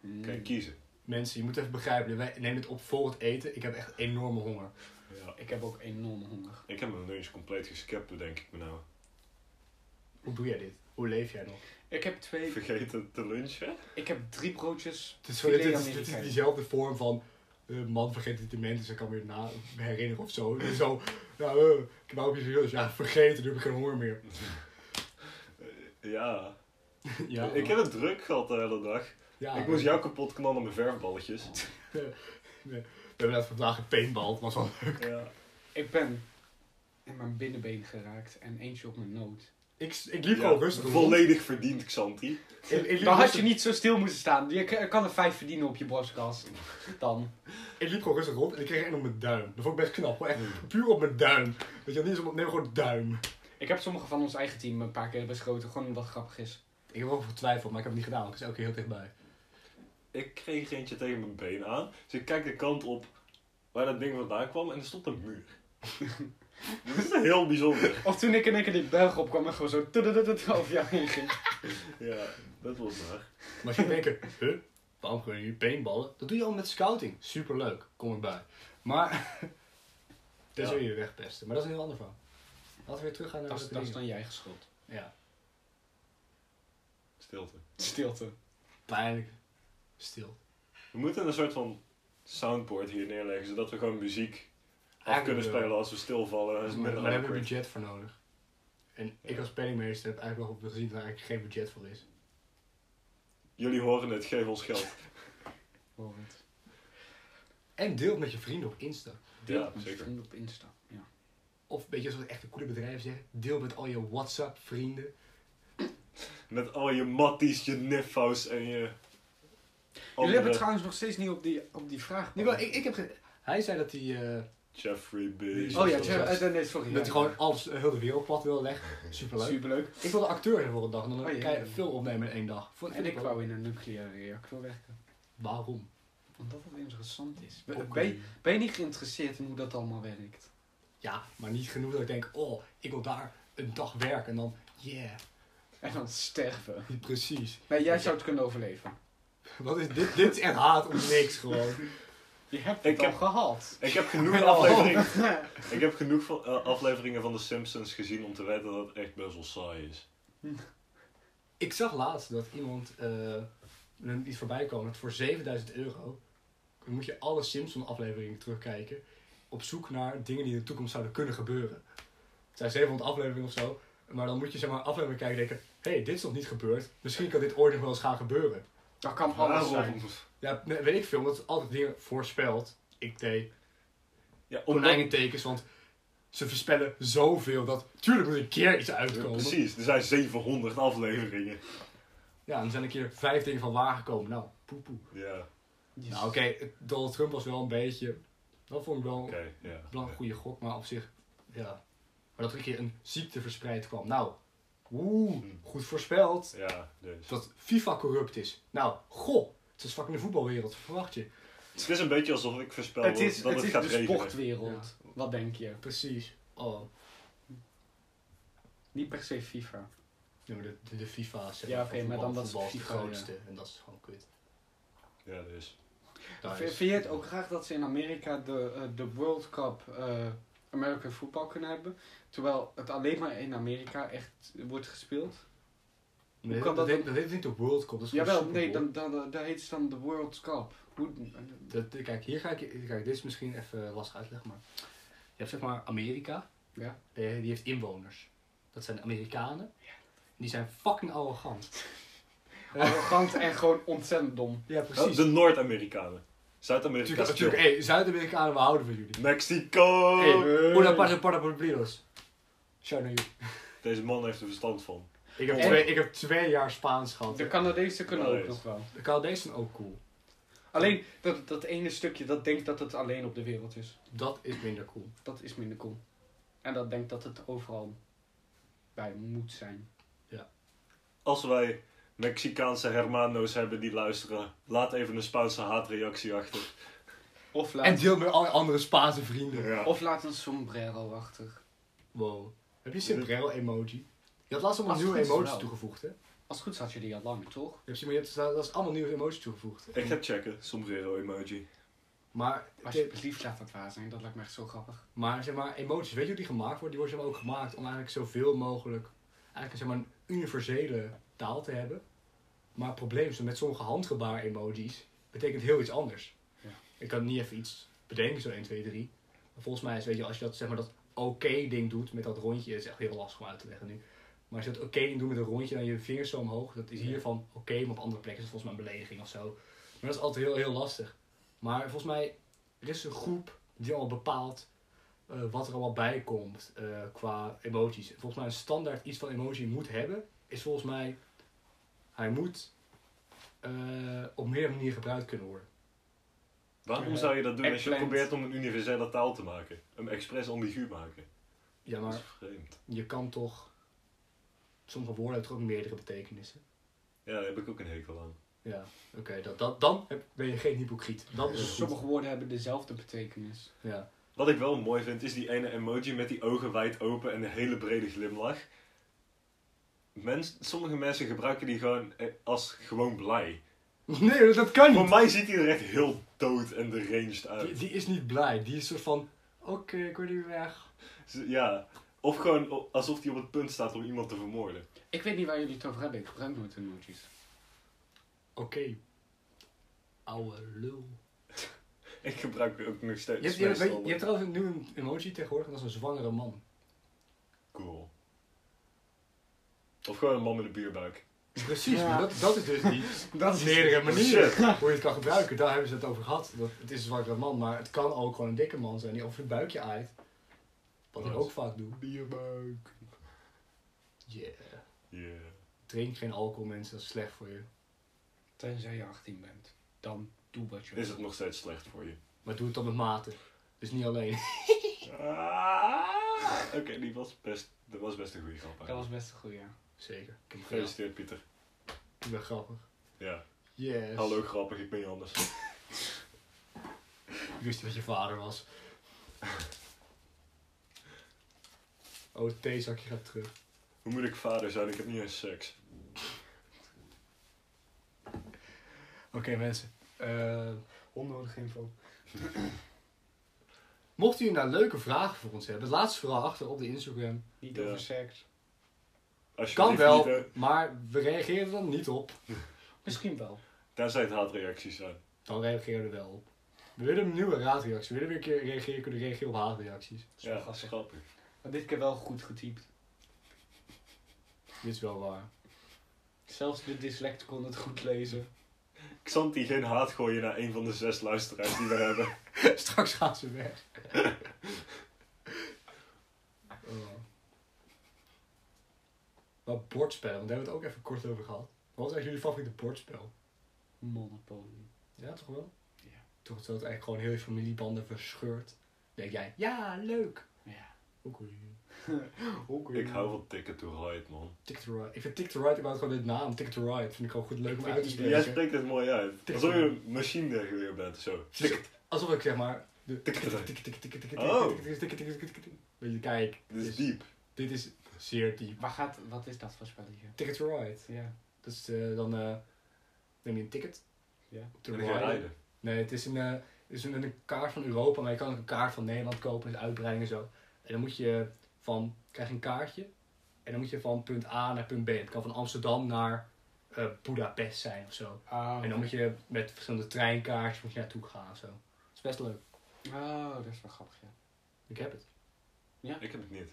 S2: Mm.
S3: Kan je kiezen.
S1: Mensen, je moet even begrijpen. Wij nemen het op voor het eten. Ik heb echt enorme honger.
S3: Ja.
S2: Ik heb ook enorme honger.
S3: Ik heb mijn lunch compleet geskipt, bedenk ik me nou.
S1: Hoe doe jij dit? Hoe leef jij nog?
S2: Ik heb twee,
S3: Vergeten te lunchen?
S2: ik heb drie broodjes.
S1: Het is,
S2: filet
S1: dit, is, dit is
S2: Amerikaan.
S1: diezelfde vorm van... eh, man vergeet het dement, dus ik kan weer na herinneren of zo. En zo, nou, eh, ik wou op je serieus. Ja, vergeten, nu heb ik geen honger meer.
S3: Eh, Ja.
S1: ja, Ah,
S3: ik heb het druk gehad de hele dag.
S1: ja, eh,
S3: ik moest jou kapot knallen met verfballetjes.
S1: We hebben net vandaag een paintball, het was wel leuk.
S3: ja.
S2: Ik ben in mijn binnenbeen geraakt en eentje op mijn noot.
S1: Ik, ik liep
S3: Ja,
S1: gewoon rustig rond.
S3: Volledig verdiend, Xanti.
S1: Ik, ik liep
S2: Dan had
S1: rustig-
S2: je niet zo stil moeten staan. Je k- kan er vijf verdienen op je borstkas. Dan.
S1: Ik liep gewoon rustig rond en ik kreeg een op mijn duim. Dat vond ik best knap, hoor. echt puur op mijn duim. Weet je, niet eens op, neem gewoon duim.
S2: Ik heb sommige van ons eigen team een paar keer beschoten, gewoon omdat het grappig is.
S1: Ik heb ook getwijfeld, maar ik heb het niet gedaan, want ik is elke keer heel dichtbij.
S3: Ik kreeg er eentje tegen mijn been aan. Dus ik kijk de kant op waar dat ding vandaan kwam en er stond een muur. Dit is heel bijzonder.
S2: Of toen ik in één keer die berg opkwam en gewoon zo tudududud over jou heen ging.
S3: Ja, dat was maar.
S1: Maar als je denkt, huh, waarom kun je nu paintballen? Dat doe je al met scouting. Superleuk, kom ik bij. Maar, daar
S3: Ja.
S1: zul je je wegpesten. Maar dat is een heel ander verhaal. Laten we weer teruggaan naar
S2: Dat
S1: de
S2: is, dat is dan jij geschuld.
S1: Ja,
S3: Stilte.
S2: Stilte.
S1: pijnlijk. Stil.
S3: We moeten een soort van soundboard hier neerleggen, zodat we gewoon muziek af kunnen
S1: Eigenlijk wel.
S3: spelen als we stilvallen. Dat is
S1: Maar
S3: minder
S1: daar hebben Dus we
S3: awkward.
S1: budget voor nodig. En ik
S3: Ja.
S1: als penningmeester heb eigenlijk wel gezien dat er eigenlijk geen budget voor is.
S3: Jullie horen het, geef ons geld.
S2: Hoor het.
S1: En deel het met je vrienden op Insta.
S2: Deel
S3: Ja,
S2: het met je
S3: zeker.
S2: vrienden op Insta. Ja.
S1: Of weet je, zoals echte coole bedrijven zeggen, deel met al je WhatsApp-vrienden.
S2: Oh.
S3: Met al je matties, je niffo's en je...
S2: Jullie hebben
S3: andere
S2: trouwens nog steeds niet op die, op die vraag.
S1: Nee, maar ik, ik heb ge- Hij zei dat hij, eh,
S3: Jeffrey Bees.
S2: Oh ja,
S1: Jeff-
S2: Jeff- eh, nee, sorry.
S1: dat hij
S2: ja.
S1: gewoon alles, eh, heel de wereld plat wilde leggen. Superleuk.
S2: Superleuk.
S1: Ik wilde acteur zijn voor een dag, en dan
S2: Oh, ja.
S1: kan je veel opnemen in één dag. Voor
S2: En ik wou in een nucleaire reactor werken.
S1: Waarom?
S2: Omdat het interessant is. Ben,
S1: Ook
S2: ben je,
S1: een-
S2: ben je niet geïnteresseerd in hoe dat allemaal werkt?
S1: Ja, maar niet genoeg dat ik denk, oh, ik wil daar een dag werken en dan, yeah.
S2: En dan sterven.
S1: Precies.
S2: Nee, jij zou het kunnen overleven.
S1: Wat is dit? dit is echt haat om niks gewoon.
S2: Je hebt
S3: Ik
S2: het al
S3: heb-
S2: gehad.
S3: Ik heb genoeg afleveringen, ik heb genoeg van, eh, afleveringen van The Simpsons gezien om te weten dat het echt best wel saai is.
S1: Ik zag laatst dat iemand eh, en dan iets voorbij komen, dat voor 7000 euro dan moet je alle Simpson-afleveringen terugkijken. Op zoek naar dingen die in de toekomst zouden kunnen gebeuren. Het zijn 700 afleveringen of zo. Maar dan moet je zeg maar afleveringen kijken en denken: hé, hey, dit is nog niet gebeurd. Misschien kan dit ooit nog wel eens gaan gebeuren.
S2: Dat kan alles zijn.
S3: Waarom?
S1: Ja, nee, weet ik veel, omdat het altijd dingen voorspelt. Ik deed
S3: Ja, omdat,
S1: konijnentekens, want ze voorspellen zoveel dat. Tuurlijk moet een keer iets
S3: Ja,
S1: uitkomen.
S3: precies, er zijn 700 afleveringen.
S1: Ja, en er zijn een keer vijf dingen van waar gekomen. Nou, poepoe.
S3: Ja,
S1: Nou, oké, Donald Trump was wel een beetje. Dat vond ik wel
S3: oké,
S2: Oh,
S3: ja.
S1: wel een goede gok, maar op zich, ja. Maar dat er een keer een ziekte verspreid kwam. Nou, oeh, goed voorspeld.
S3: Ja, dus.
S1: Dat FIFA corrupt is. Nou, goh, het is fucking de voetbalwereld, verwacht je.
S3: Het is een beetje alsof ik voorspel
S2: Het is,
S3: dat
S2: het
S3: het,
S2: is
S3: gaat
S2: de
S3: regenen.
S2: sportwereld. Wat denk je?
S1: Precies. Oh,
S2: Niet per se FIFA.
S1: ja, maar de, de, de FIFA zeg
S2: Ja, oké,
S1: van
S2: maar dan
S1: voetbal-
S2: dat is
S1: voetbal is
S2: FIFA,
S1: de grootste. En dat is gewoon kut.
S3: Ja, dus.
S1: Daar
S2: Vind,
S1: is-
S2: vind je het ook graag dat ze in Amerika de, eh, de World Cup eh American Football kunnen hebben? Terwijl het alleen maar in Amerika echt wordt gespeeld?
S1: Nee,
S2: hoe kan
S1: dat,
S2: dat
S1: heet, dat heet niet de World Cup, dat is
S2: Jawel,
S1: gewoon de
S2: nee,
S1: Super Bowl.
S2: dan, dan, dan, dan heet ze dan de World Cup. Hoe, eh,
S1: Dat, kijk, hier ga ik, kijk, dit is misschien even lastig uitleggen, maar... Je hebt zeg maar Amerika,
S2: ja.
S1: eh, die heeft inwoners. Dat zijn de Amerikanen. Die zijn fucking arrogant.
S2: Arrogant en gewoon ontzettend dom.
S1: Ja,
S3: Oh, De Noord-Amerikanen. Zuid-Amerika
S1: Natuurlijk,
S3: is chill.
S1: natuurlijk hey, Zuid-Amerikanen, we houden van jullie.
S3: Mexico!
S1: Hey, una pasa para problidos. Shout naar jullie.
S3: Deze man heeft er verstand van.
S1: Ik heb,
S2: En-
S1: twee, ik heb twee jaar Spaans gehad.
S2: De Canadezen kunnen
S3: Nee.
S2: ook nog wel.
S1: De Canadezen zijn ook cool.
S2: Alleen dat, dat ene stukje dat denkt dat het alleen op de wereld is.
S1: Dat is minder cool.
S2: Dat is minder cool. En dat denkt dat het overal bij moet zijn.
S3: Als wij Mexicaanse hermano's hebben die luisteren, laat even een Spaanse haatreactie achter.
S2: Of
S1: En
S2: laat,
S1: deel met alle andere Spaanse vrienden.
S3: Ja.
S2: of laat een sombrero achter.
S1: Wow. Heb je een sombrero-emoji? Je had laatst allemaal
S2: Als het
S1: nieuwe
S2: goed is
S1: emoties
S2: wel.
S1: toegevoegd, hè? Ja,
S2: Als het goed is had je die al lang, toch?
S1: precies, maar je hebt dat is allemaal nieuwe emoties toegevoegd.
S3: Ik ga checken, sombrero-emoji.
S1: Maar,
S2: Alsjeblieft, laat dat waar zijn. Dat lijkt me echt zo grappig.
S1: maar, zeg maar emoties, weet je hoe die gemaakt worden? Die worden zeg maar, ook gemaakt om eigenlijk zoveel mogelijk eigenlijk, zeg maar, een universele taal te hebben. Maar het probleem is dat met sommige handgebaar-emojis betekent heel iets anders.
S2: Ja.
S1: Ik kan niet even iets bedenken, zo 1, 2, 3. Maar volgens mij is, weet je, als je dat, zeg maar, dat oké-ding doet met dat rondje, is echt heel lastig om uit te leggen nu. Maar als je dat oké-ding doet met een rondje en je vingers zo omhoog, dat is hier van oké, maar op andere plekken is het volgens mij een belediging of zo. Maar dat is altijd heel, heel lastig. Maar volgens mij, er is een groep die al bepaalt eh, wat er allemaal bij komt eh, qua emoties. Volgens mij een standaard iets van emoji moet hebben, is volgens mij, hij moet eh, op meerdere manieren gebruikt kunnen worden.
S3: Waarom
S2: Ja.
S3: zou je dat doen als je
S2: Eggplant.
S3: probeert om een universele taal te maken? Hem expres ambigu maken.
S1: Ja,
S3: Dat is
S1: maar
S3: vreemd.
S1: je kan toch, sommige woorden hebben toch ook meerdere betekenissen.
S3: Ja, daar heb ik ook een hekel aan.
S1: Ja, oké, dat, dat, dan heb- ben je geen hypocriet. Dat is het goed.
S2: Dus Sommige woorden hebben dezelfde betekenis.
S1: Ja.
S3: Wat ik wel mooi vind, is die ene emoji met die ogen wijd open en een hele brede glimlach. Mens, sommige mensen gebruiken die gewoon eh, als gewoon blij.
S1: Nee, dat kan
S3: Voor
S1: niet.
S3: mij ziet hij er echt heel dood en deranged
S1: Die,
S3: uit.
S1: die is niet blij, die is soort van, oké, ik word hier weg.
S3: Z- Ja, of gewoon o- alsof hij op het punt staat om iemand te vermoorden.
S2: Ik weet niet waar jullie het over hebben. Ik gebruik nooit emojis.
S1: Oké. Oude lul.
S3: Ik gebruik ook nog steeds
S1: Je hebt, je, hebt- weet je-
S3: meestal
S1: je hebt trouwens nu een emoji tegenwoordig, en dat is een zwangere man.
S3: cool. Of gewoon een man met een bierbuik.
S1: Precies,
S2: Ja.
S1: maar dat, dat is dus die
S2: Dat
S1: meerdere
S3: Shit.
S1: manieren hoe je het kan gebruiken. Daar hebben ze het over gehad. Dat, het is een zwakkere man, maar het kan ook gewoon een dikke man zijn die over het buikje aait. Wat ik
S3: Wat?
S1: ook vaak doe.
S3: Bierbuik.
S1: Yeah.
S3: Yeah.
S1: Drink geen alcohol mensen, dat is slecht voor je.
S2: Tenzij je 18 bent. Dan doe wat je
S3: Is het nog steeds slecht voor je?
S1: Maar doe het dan met mate. Dus niet alleen.
S3: Ah, Oké, die was best, dat was best een goede grap.
S2: Dat
S3: eigenlijk.
S2: was best een goeie. ja.
S1: Zeker. Ik ben grappig.
S3: Gefeliciteerd, Pieter.
S1: Ik ben grappig.
S3: Ja.
S1: Yes.
S3: Hallo, grappig, ik ben Dus Jannes.
S1: Ik wist niet wat je vader was. Oh, het theezakje gaat terug.
S3: Hoe moet ik vader zijn? Ik heb niet eens seks.
S1: Oké mensen. Eh,
S2: Onnodig info.
S1: mocht u nou leuke vragen voor ons hebben, laat ze vooral achter op de Instagram.
S2: Niet
S3: Ja.
S2: over seks.
S3: Alsjeblieft
S1: Kan wel,
S3: niet, hè.
S1: maar we reageren er dan niet op.
S2: Misschien wel.
S3: Tenzij het haatreacties zijn.
S1: Dan reageren we er wel op. We willen een nieuwe raadreactie. We willen weer een keer reageren, kunnen reageren op haatreacties.
S2: is wel
S3: Ja, dat is
S2: grappig.
S3: grappig.
S2: Maar dit keer wel goed getypt.
S1: Dit is wel waar.
S2: Zelfs de dyslect kon het goed lezen.
S3: Xanti geen haat gooien naar een van de zes luisteraars die we hebben.
S1: Straks gaan ze weg. oh. Maar bordspellen, want daar hebben we het ook even kort over gehad. Wat is eigenlijk jullie favoriete bordspel?
S2: Monopoly.
S1: Ja, toch wel?
S2: Ja.
S1: Toch dat het eigenlijk gewoon heel je familiebanden verscheurt. Dan Denk jij, ja, leuk.
S2: Ja.
S1: Ook goed.
S3: Ik hou van Ticket to Ride, man.
S1: Ticket to Ride. Ik vind Ticket to Ride, ik wou gewoon dit naam. Ticket to Ride vind ik gewoon goed leuk om uit te
S3: Jij
S1: spreken.
S3: spreekt het mooi uit.
S1: Ticket
S3: Alsof je
S1: to
S3: een machinegeweer bent, zo.
S1: Precies.
S3: Ticket.
S1: Alsof ik zeg maar... de-
S3: Ticket to Ride.
S1: Ticket, ticket, ticket, ticket,
S3: Oh.
S1: ticket, ticket, ticket, ticket, ticket. Weet je, kijk.
S3: Dit is diep.
S1: Dit is zeer diep.
S2: Waar gaat, wat is dat voor spelletje?
S1: Ticket to Ride.
S2: Ja.
S1: Dat is eh, dan eh, neem je een ticket.
S2: Ja.
S1: To
S3: En dan ga je
S1: ride.
S3: rijden.
S1: Nee, het is, een, eh, het is een, een kaart van Europa, maar je kan ook een kaart van Nederland kopen met uitbreiding en zo. En dan moet je van, krijg je een kaartje. En dan moet je van punt A naar punt B. Het kan van Amsterdam naar eh Budapest zijn of zo.
S2: Oh.
S1: En dan moet je met verschillende treinkaartjes moet je naartoe gaan of zo. Het is best leuk.
S2: Oh, dat is wel grappig, ja.
S1: Ik heb het.
S3: Ik heb het niet.
S1: Ik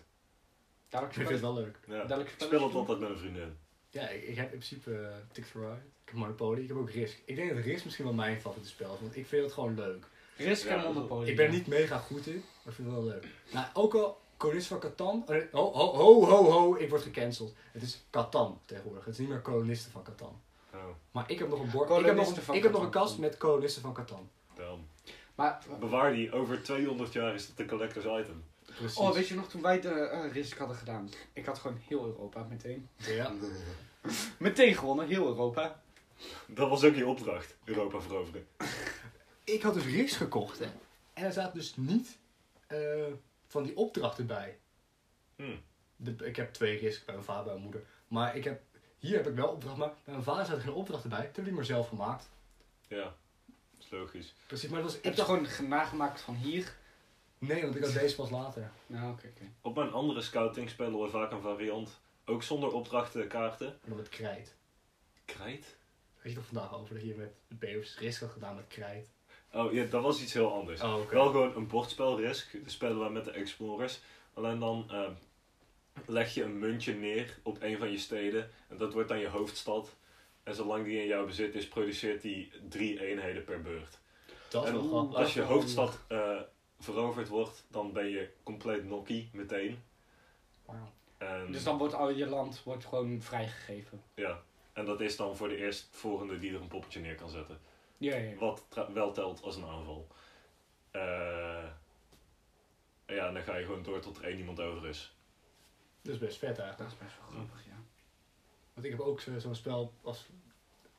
S2: Dadelijk
S1: vind het wel leuk.
S3: Ja.
S2: Dadelijk
S3: Ik speel
S2: spelletje
S3: het
S2: doen?
S3: altijd met een vriendin.
S1: Ja, ik, ik heb in principe eh Ticket for Ride. Ik heb Monopoly. Ik heb ook Risk. Ik denk dat Risk misschien wel mijn favoriete spel is, want ik vind het gewoon leuk.
S2: Risk
S3: Ja,
S2: en Monopoly.
S1: Ik ben er niet mega goed in, maar ik vind het wel leuk. Nou, ook al Konings van Catan. oh, nee, Ho, ho, ho, ho, ho, ik word gecanceld. Het is Catan tegenwoordig. Het is niet meer kolonisten van Catan.
S3: Oh,
S1: Maar ik heb nog een bord. Ik heb nog,
S2: Kolonisten
S1: een-
S2: van
S1: ik heb nog een
S2: Catan.
S1: kast met kolonisten van Catan.
S3: damn.
S2: Maar,
S3: Bewaar die, over 200 jaar is dat een collectors item.
S1: Precies.
S2: oh, weet je nog toen wij de eh, Risk hadden gedaan? Ik had gewoon heel Europa meteen.
S1: Ja.
S2: Meteen gewonnen, heel Europa.
S3: Dat was ook je opdracht, Europa veroveren.
S1: Ik had dus Risk gekocht, hè. En er zaten dus niet eh, van die opdrachten bij.
S3: Hmm.
S1: De, ik heb twee Risk bij mijn vader en mijn moeder. Maar ik heb, hier heb ik wel opdracht, maar bij mijn vader zaten geen opdrachten bij. Toen heb ik die maar zelf gemaakt.
S3: Ja, is logisch.
S1: Precies, maar dat was...
S2: Heb je gewoon nagemaakt van hier?
S1: Nee, want ik had deze pas later.
S2: Nou, oké, oké.
S3: Op mijn andere scouting spelen we vaak een variant. Ook zonder opdrachten kaarten.
S1: En dan met krijt.
S3: Krijt?
S1: Weet je toch vandaag over dat je met de Beovs risk had gedaan met krijt?
S3: Oh ja, dat was iets heel anders.
S1: Oh, oké.
S3: Wel gewoon een bordspel risk. Dat spelen we met de Explorers. Alleen dan eh, leg je een muntje neer op een van je steden. En dat wordt dan je hoofdstad. En zolang die in jouw bezit is, produceert die drie eenheden per beurt.
S1: Dat is
S3: En
S1: wel grappig.
S3: Als je
S2: Dat is wel
S3: hoofdstad eh, veroverd wordt, dan ben je compleet nokkie meteen.
S1: Wauw.
S3: En,
S2: Dus dan wordt al je land wordt gewoon vrijgegeven.
S3: Ja. En dat is dan voor de eerstvolgende die er een poppetje neer kan zetten.
S2: Ja, ja, ja.
S3: Wat tra- wel telt als een aanval. Eh, ja, en dan ga je gewoon door tot er één iemand over is.
S1: Dat is best vet
S2: Dat
S1: eigenlijk.
S2: is best wel grappig, ja.
S1: Want ik heb ook zo- zo'n spel als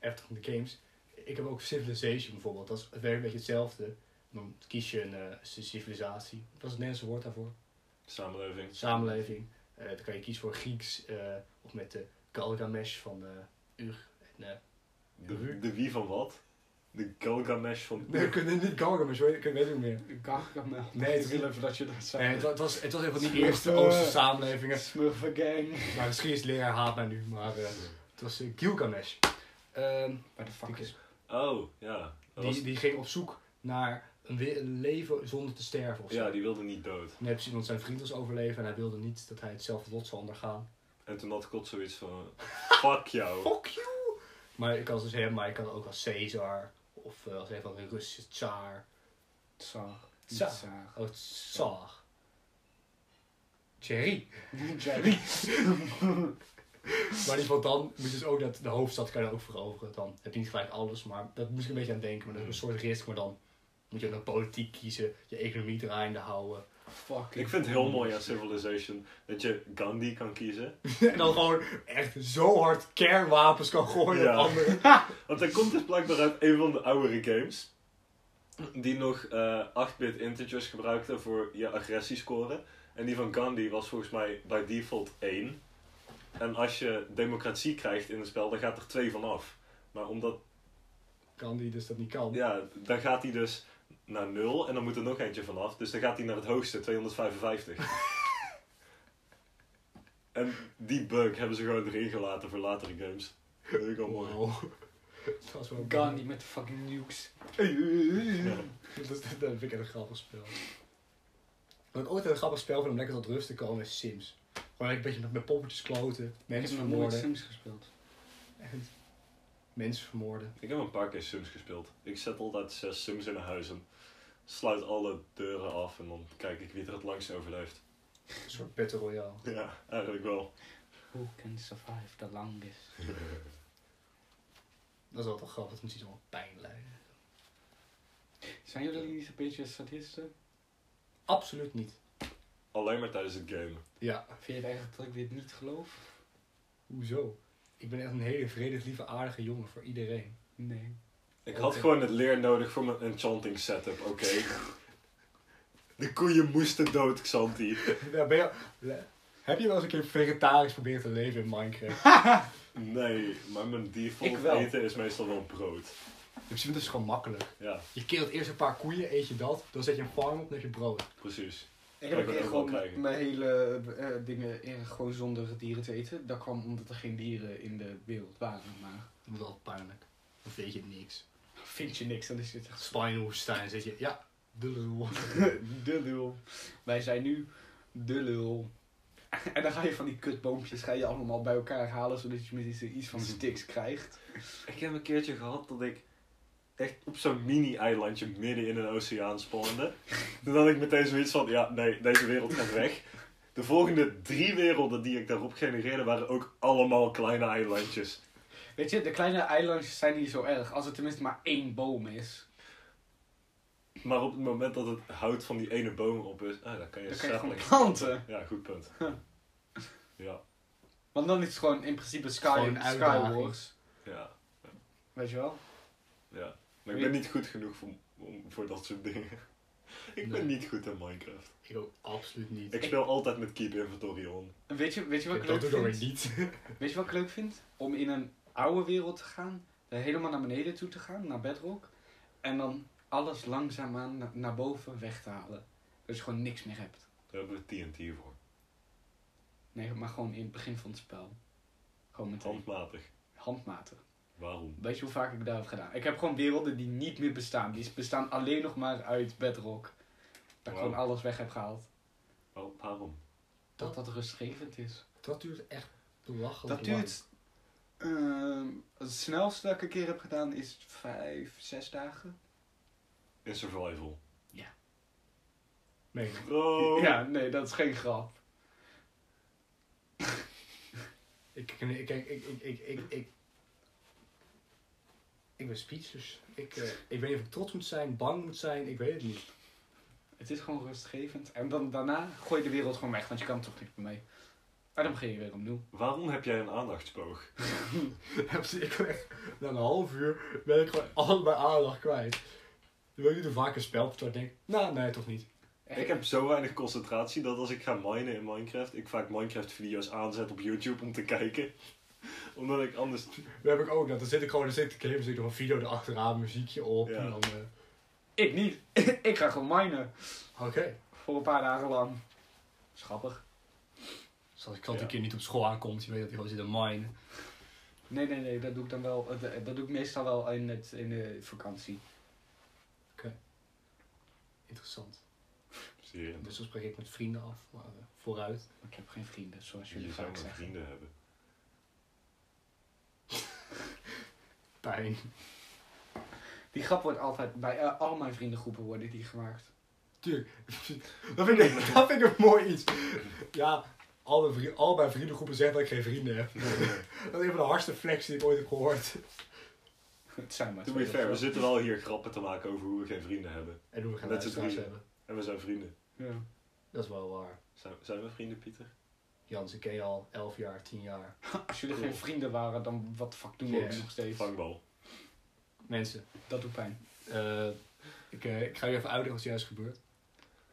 S1: After van de Games. Ik heb ook Civilization bijvoorbeeld. Dat is het werkt een beetje hetzelfde. Dan kies je een eh, c- civilisatie. Wat is het Nederlandse woord daarvoor?
S3: Samenleving.
S1: Samenleving. Eh, dan kan je kiezen voor Grieks eh, of met de Galgamesh van eh Ur. En, eh,
S3: De, de wie van wat? De Gilgamesh van...
S1: nee, ik weet niet Galgamesh hoor. Ik weet het niet meer.
S2: Gargamel.
S1: Nee, het
S2: ik
S1: is-
S2: wil even dat je dat
S1: Nee,
S2: zei.
S1: Eh, het, wa- het was, het was een van die
S2: Smurfen.
S1: eerste Oosterse samenlevingen.
S2: Smurfen gang.
S1: Nou, geschiedenisleraar haat mij nu, maar eh, het was eh, Gilgamesh. Ehm,
S2: Waar de fuck
S1: Die-
S2: is...
S3: Oh, ja. Dat was-
S1: die, die ging op zoek naar een, we- een leven zonder te sterven of zo.
S3: Ja, die wilde niet dood.
S1: Nee, precies, want zijn vriend was overleven en hij wilde niet dat hij hetzelfde lot zou ondergaan.
S3: En toen had God zoiets van... Fuck jou.
S1: Fuck you! Maar ik kan als dus hem, maar ik kan ook als Caesar of eh, als een van de Russische tsaar.
S2: Tsar.
S1: Tsar.
S2: Niet Tsar.
S1: Oh, tsaar. Thierry.
S2: Jerry.
S1: Maar in ieder geval dan moet je dus ook dat de hoofdstad kan je ook veroveren. Dan heb je niet gelijk alles, maar dat moest ik een beetje aan denken. Maar dat is een soort risk, maar dan moet je ook naar politiek kiezen, je economie draaiende houden.
S2: Fuck.
S3: Ik vind het heel mooi aan Civilization dat je Gandhi kan kiezen.
S1: En dan gewoon echt zo hard kernwapens kan gooien
S3: Ja.
S1: op anderen.
S3: Want hij komt dus blijkbaar uit een van de oudere games. Die nog eh, 8-bit integers gebruikte voor je agressiescore. En die van Gandhi was volgens mij bij default 1. En als je democratie krijgt in het spel, dan gaat er 2 van af. Maar omdat,
S1: Kan die dus dat niet kan.
S3: ja, dan gaat hij dus naar 0 en dan moet er nog eentje vanaf. Dus dan gaat hij naar het hoogste, 255. en die bug hebben ze gewoon erin gelaten voor latere games. Dat vind ik wel mooi.
S1: Wow. Dat was wel
S2: Gandhi met de fucking nukes.
S1: Dat, is- dat vind ik echt een grappig spel. Wat ooit een grappig spel vind om lekker tot rust te komen is Sims. Gewoon een beetje met, met poppetjes kloten,
S2: Ik heb
S1: mensen
S2: nog nooit
S1: vermoorden.
S2: Sims gespeeld.
S1: En mensen vermoorden.
S3: Ik heb een paar keer Sims gespeeld. Ik zet altijd zes Sims in een huis en sluit alle deuren af en dan kijk ik wie er het langst overleeft.
S1: Een soort battle royale.
S3: Ja, eigenlijk wel.
S2: Who can survive the longest?
S1: Dat is altijd wel grappig, dat moet iets allemaal pijn lijden.
S2: Zijn jullie niet een beetje sadisten?
S1: Absoluut niet.
S3: Alleen maar tijdens het game.
S1: Ja,
S2: Vind je het eigenlijk dat ik dit niet geloof?
S1: hoezo? Ik ben echt een hele vredig, lieve, aardige jongen voor iedereen.
S2: Nee.
S3: Ik had gewoon het leer nodig voor mijn enchanting setup, oké. De koeien moesten dood, Xanti.
S1: Ja, ben je, le- heb je wel eens een keer vegetarisch proberen te leven in Minecraft?
S3: Nee, maar mijn
S2: Ik
S3: default
S2: wel.
S3: eten is meestal wel brood.
S1: In principe is het dus gewoon makkelijk.
S3: Ja,
S1: Je keelt eerst een paar koeien, eet je dat, dan zet je een farm op en heb je brood.
S3: precies.
S2: Ik
S3: Ja,
S2: heb
S3: ik
S2: ook
S3: wil
S2: echt
S3: ook
S2: gewoon
S3: wel kijken.
S2: mijn hele eh, dingen eh, gewoon zonder dieren te eten. Dat kwam omdat er geen dieren in de wereld waren. Maar
S1: Dat is wel pijnlijk. Dan weet je niks.
S2: vind je niks, dan is dit echt
S1: Spanje woestijn zit je, ja, de lul.
S2: de lul. Wij zijn nu de lul. En dan ga je van die kutboompjes ga je allemaal bij elkaar halen, zodat je misschien iets van sticks krijgt.
S3: Ik heb een keertje gehad dat ik echt op zo'n mini-eilandje midden in een oceaan spawnde. Toen had ik meteen zoiets van, ja, nee, deze wereld gaat weg. De volgende drie werelden die ik daarop genereerde waren ook allemaal kleine eilandjes.
S2: Weet je, de kleine eilandjes zijn niet zo erg, als er tenminste maar één boom is.
S3: Maar op het moment dat het hout van die ene boom op is, ah, dan kan je
S2: Dan kan je gewoon
S3: saplings
S2: planten.
S3: Ja, goed punt. Ja,
S2: Want dan is het gewoon in principe Sky,
S1: Gewoon een uitdaging.
S2: Skywars.
S3: ja,
S2: Weet je wel?
S3: ja. Maar ik ben niet goed genoeg voor, om, voor dat soort dingen. Ik ben
S1: Nee.
S3: niet goed in Minecraft.
S1: Ik ook absoluut niet.
S3: Ik speel altijd met Keep Inventory on.
S2: En Weet je, weet je wat ik
S1: dat
S2: leuk
S1: doe ik
S2: vind?
S1: weer niet.
S2: Weet je wat ik leuk vind? Om in een oude wereld te gaan, er helemaal naar beneden toe te gaan, naar bedrock. En dan alles langzaamaan na- naar boven weg te halen. Dat je gewoon niks meer hebt.
S3: Daar hebben we TNT voor.
S2: Nee, maar gewoon in het begin van het spel. Gewoon meteen.
S3: Handmatig.
S2: Handmatig.
S3: Waarom?
S2: Weet je hoe vaak ik dat heb gedaan? Ik heb gewoon werelden die niet meer bestaan. Die bestaan alleen nog maar uit bedrock. Dat ik
S3: Wauw.
S2: gewoon alles weg heb gehaald.
S3: Waar- waarom?
S2: Dat dat rustgevend is.
S1: Dat duurt echt belachelijk
S2: Dat duurt. ehm, het snelste dat ik een keer heb gedaan is vijf, zes dagen.
S3: In survival.
S1: lang. Nee,
S3: Bro!
S2: Ja, nee, dat is geen grap.
S1: ik, ik, ik, ik, ik, ik, ik, ik, ik ben speechless. Ik, eh, ik weet niet of ik trots moet zijn, bang moet zijn, ik weet het niet.
S2: Het is gewoon rustgevend. En dan daarna gooi je de wereld gewoon weg, want je kan toch niet meer mee. En dan begin je weer opnieuw.
S3: Waarom heb jij een aandachtspoog?
S1: Ja, precies. ik ben echt, na een half uur ben ik gewoon al mijn aandacht kwijt. Dan wil je er vaak een spel op ik denk, nou nee, toch niet.
S3: Ik heb zo weinig concentratie dat als ik ga minen in Minecraft, ik vaak Minecraft video's aanzet op YouTube om te kijken. Omdat ik anders...
S1: Dat heb ik ook, dat. dan zit ik gewoon, dan zit ik te gamen, dan zit ik nog een video erachteraan, muziekje op
S3: Ja.
S1: en dan, eh,
S2: Ik niet. ik ga gewoon minen.
S1: oké.
S2: Voor een paar dagen lang. Schappig.
S1: Dus als ik altijd
S3: Ja.
S1: een keer niet op school aankomt, je weet dat hij gewoon zit te mine.
S2: Nee, nee, nee. Dat doe ik dan wel. eh, Dat dat doe ik meestal wel in, het, in de vakantie.
S1: Interessant.
S3: Zie je?
S1: Dus dan spreek ik met vrienden af, maar eh, vooruit.
S2: Ik heb geen vrienden, zoals jullie
S3: Je zou
S2: vaak
S3: maar
S2: zeggen.
S3: vrienden hebben.
S1: Pijn.
S2: Die grap wordt altijd bij eh, al mijn vriendengroepen worden die gemaakt.
S1: Tuurlijk. Dat vind ik, dat vind ik een mooi iets. Ja, al mijn, vri- al mijn vriendengroepen zeggen dat ik geen vrienden heb. Dat is een van de hardste flex die ik ooit heb gehoord.
S2: Het zijn maar
S3: To
S2: twee
S3: be
S2: of
S3: fair,
S2: zo.
S3: we zitten wel hier grappen te maken over hoe we geen vrienden hebben.
S1: En hoe we gaan
S3: Met z'n
S1: luisteraars
S3: drieën.
S1: hebben.
S3: En we zijn vrienden.
S2: Ja.
S1: Dat is wel waar.
S3: Zijn, zijn we vrienden, Pieter?
S1: Jans, ik ken je al 11 jaar, 10 jaar.
S2: Als jullie geen vrienden waren, dan wat de fuck doen we
S1: Ja.
S2: ook nog steeds?
S3: Vangbal.
S1: Mensen,
S2: Dat doet pijn.
S1: eh, ik, eh, ik ga je even uitleggen wat er juist gebeurt.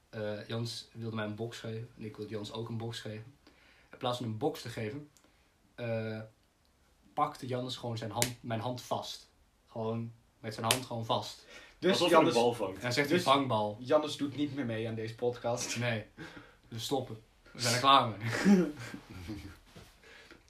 S1: Eh, Jans wilde mij een box geven en ik wilde Jans ook een box geven. In plaats van een box te geven, eh, pakte Jans gewoon zijn hand, mijn hand vast. Gewoon met zijn hand gewoon vast.
S2: Dus
S3: Alsof je een
S2: Jannes,
S3: bal
S1: En
S3: vangt.
S1: hij zegt
S2: Dus-
S1: hij vangbal.
S2: Jannes doet niet meer mee aan deze podcast.
S1: Dus Nee, we stoppen. We zijn er klaar mee.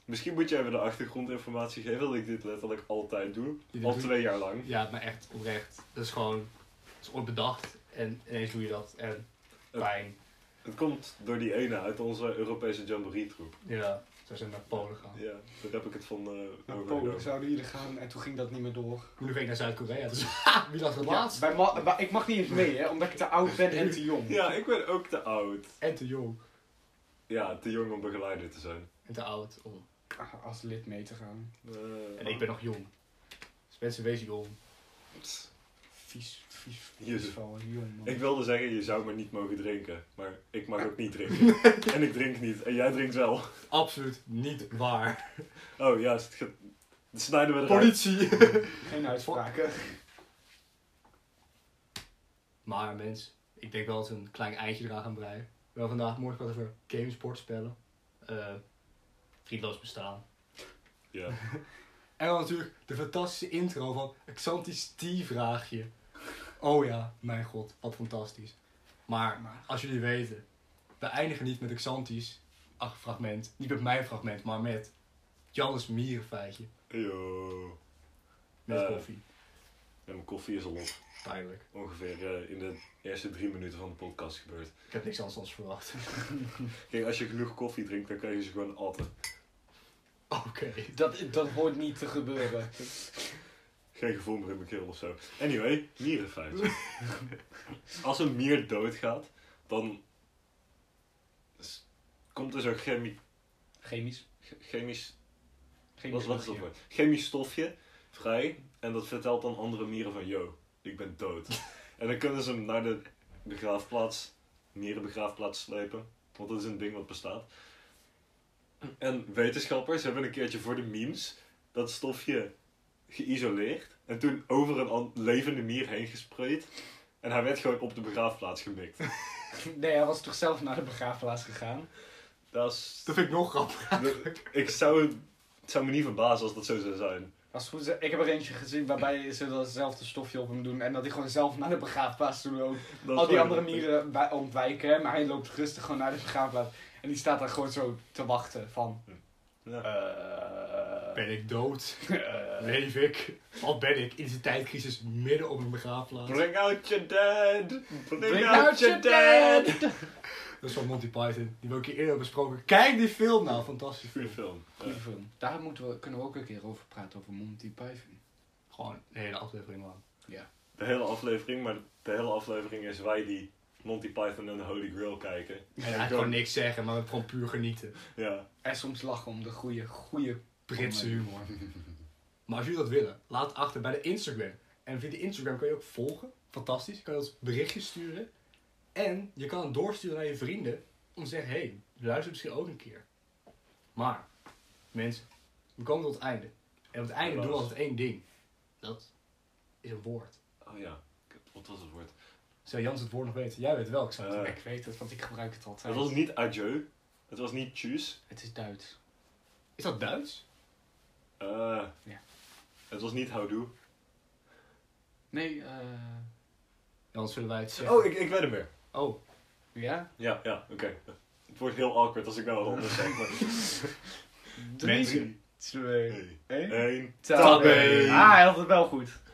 S3: Misschien moet jij even de achtergrondinformatie geven dat ik dit letterlijk altijd doe.
S1: dit
S3: Al
S1: doe-
S3: twee jaar lang.
S1: Ja, maar echt oprecht. Dat is gewoon, het is ooit bedacht en ineens doe je dat en pijn.
S3: Het komt door die ene uit onze Europese Jamboree troep.
S1: Ja, zo zijn we naar Polen gaan.
S3: Ja, daar heb ik het van eh
S2: Naar
S3: overgenomen.
S2: Ah. Polen zouden jullie gaan en toen ging dat niet meer door.
S1: Nu ging ik naar Zuid-Korea, dus ha, wie lag er
S2: Ja,
S1: laatst?
S2: bij ma- bij- ik mag niet eens mee, hè, omdat ik te oud ben en te jong.
S3: Ja, ik ben ook te oud.
S1: En te jong
S3: Ja, te jong om begeleider te zijn.
S1: en te oud om.
S2: Ah, Als lid mee te gaan.
S3: Eh,
S1: En ik ben nog jong. Dus mensen wezen jong.
S3: Pst.
S2: Vies, vies, vies
S3: Jezus.
S2: van jong man.
S3: Ik wilde zeggen, je zou maar niet mogen drinken. Maar ik mag ook niet drinken. en ik drink niet. En jij drinkt wel.
S1: Absoluut niet waar.
S3: Oh ja, is het ge- dan snijden we eruit.
S1: Politie!
S2: Geen uitspraken.
S1: maar mens, ik denk wel dat we een klein eindje eraan gaan breien. We hebben vandaag morgen wat over gamesport spellen. Eh vriendloos bestaan.
S3: Ja.
S1: En dan natuurlijk de fantastische intro van Xanti's T-vraagje. Oh ja, mijn god, wat fantastisch. Maar
S2: Maar-
S1: als jullie weten, we eindigen niet met Xanti's ach, fragment. Niet met mijn fragment, maar met Jannes Mierenfeitje.
S3: Yo.
S1: Met
S3: Eh.
S1: koffie.
S3: En mijn koffie is al op.
S1: Pijnlijk.
S3: Ongeveer eh, in de eerste drie minuten van de podcast gebeurd.
S1: Ik heb niks anders dan verwacht.
S3: Kijk, als je genoeg koffie drinkt, dan kan je ze gewoon atten.
S1: Oké.
S2: Dat, dat hoort niet te gebeuren.
S3: Geen gevoel meer in mijn keel of zo. Anyway, mierenfeit. Als een mier doodgaat, dan s- komt er zo'n chemie,
S2: Chemisch.
S3: ch- chemisch
S2: Chemisch
S3: Wat, wat is dat
S2: logie.
S3: voor? Chemisch stofje vrij. En dat vertelt dan andere mieren van, yo, ik ben dood. en dan kunnen ze hem naar de begraafplaats, mierenbegraafplaats slepen. Want dat is een ding wat bestaat. En wetenschappers hebben een keertje voor de memes dat stofje geïsoleerd. En toen over een an- levende mier heen gespreid. En hij werd gewoon op de begraafplaats gemikt.
S2: Nee, hij was toch zelf naar de begraafplaats gegaan?
S3: Dat is...
S1: Dat vind ik nog grappig.
S3: Ik zou... Het zou me niet verbazen als dat zo zou zijn.
S2: Als het goed is, ik heb er eentje gezien waarbij ze datzelfde stofje op hem doen en dat hij gewoon zelf naar de begraafplaats toe loopt.
S3: Dat
S2: Al die
S3: zou-
S2: andere mieren wij- ontwijken, maar hij loopt rustig gewoon naar de begraafplaats en die staat daar gewoon zo te wachten van...
S3: Ja.
S2: eh,
S1: Ben ik dood?
S2: eh,
S1: Leef ik? Wat ben ik? In zijn tijdcrisis midden op een begraafplaats.
S3: Bring out your dead! Bring,
S2: Bring
S3: out your dead!
S1: Dat is van Monty Python. Die we ook hier eerder hebben besproken. Kijk die film nou. Fantastisch
S3: Goede
S1: film.
S3: film. Ja.
S2: Goeie film. Daar moeten we, kunnen we ook een keer over praten, over Monty Python.
S1: Gewoon een hele aflevering lang.
S3: De hele aflevering, maar de hele aflevering is wij die Monty Python en de Holy Grail kijken.
S1: En eigenlijk gewoon niks zeggen, maar gewoon puur genieten.
S3: Ja.
S2: En soms lachen om de goede, goede...
S1: Britse
S2: Oh, nee.
S1: humor. Maar als jullie dat willen, laat achter bij de Instagram. En via de Instagram kun je ook volgen. Fantastisch. Kan je ons berichtjes sturen. En je kan het doorsturen naar je vrienden. Om te zeggen, hé, hey, luister misschien ook een keer. Maar, mensen, we komen tot het einde. En op het einde doen we altijd één ding. Dat is een woord.
S3: Oh ja. Wat was het woord?
S1: Zou Jans het woord nog weten? Jij weet welk.
S3: Eh,
S2: Ik weet het, want ik gebruik het altijd.
S3: het was niet adieu. Het was niet tjus.
S2: Het is Duits.
S1: Is dat Duits?
S3: Eh,
S2: Ja.
S3: Het was niet houdoe.
S2: Nee, eh...
S1: Jans, zullen wij het zeggen?
S3: Oh, ik, ik weet het meer.
S1: Oh,
S2: Ja?
S3: Ja, ja, oké. Het wordt heel awkward als ik nou wat anders zeg. maar-
S1: Mensen.
S2: Drie, twee,
S3: Drie,
S2: één.
S3: één.
S2: Tabé.
S1: Tabé.
S2: Ah, hij had het wel goed.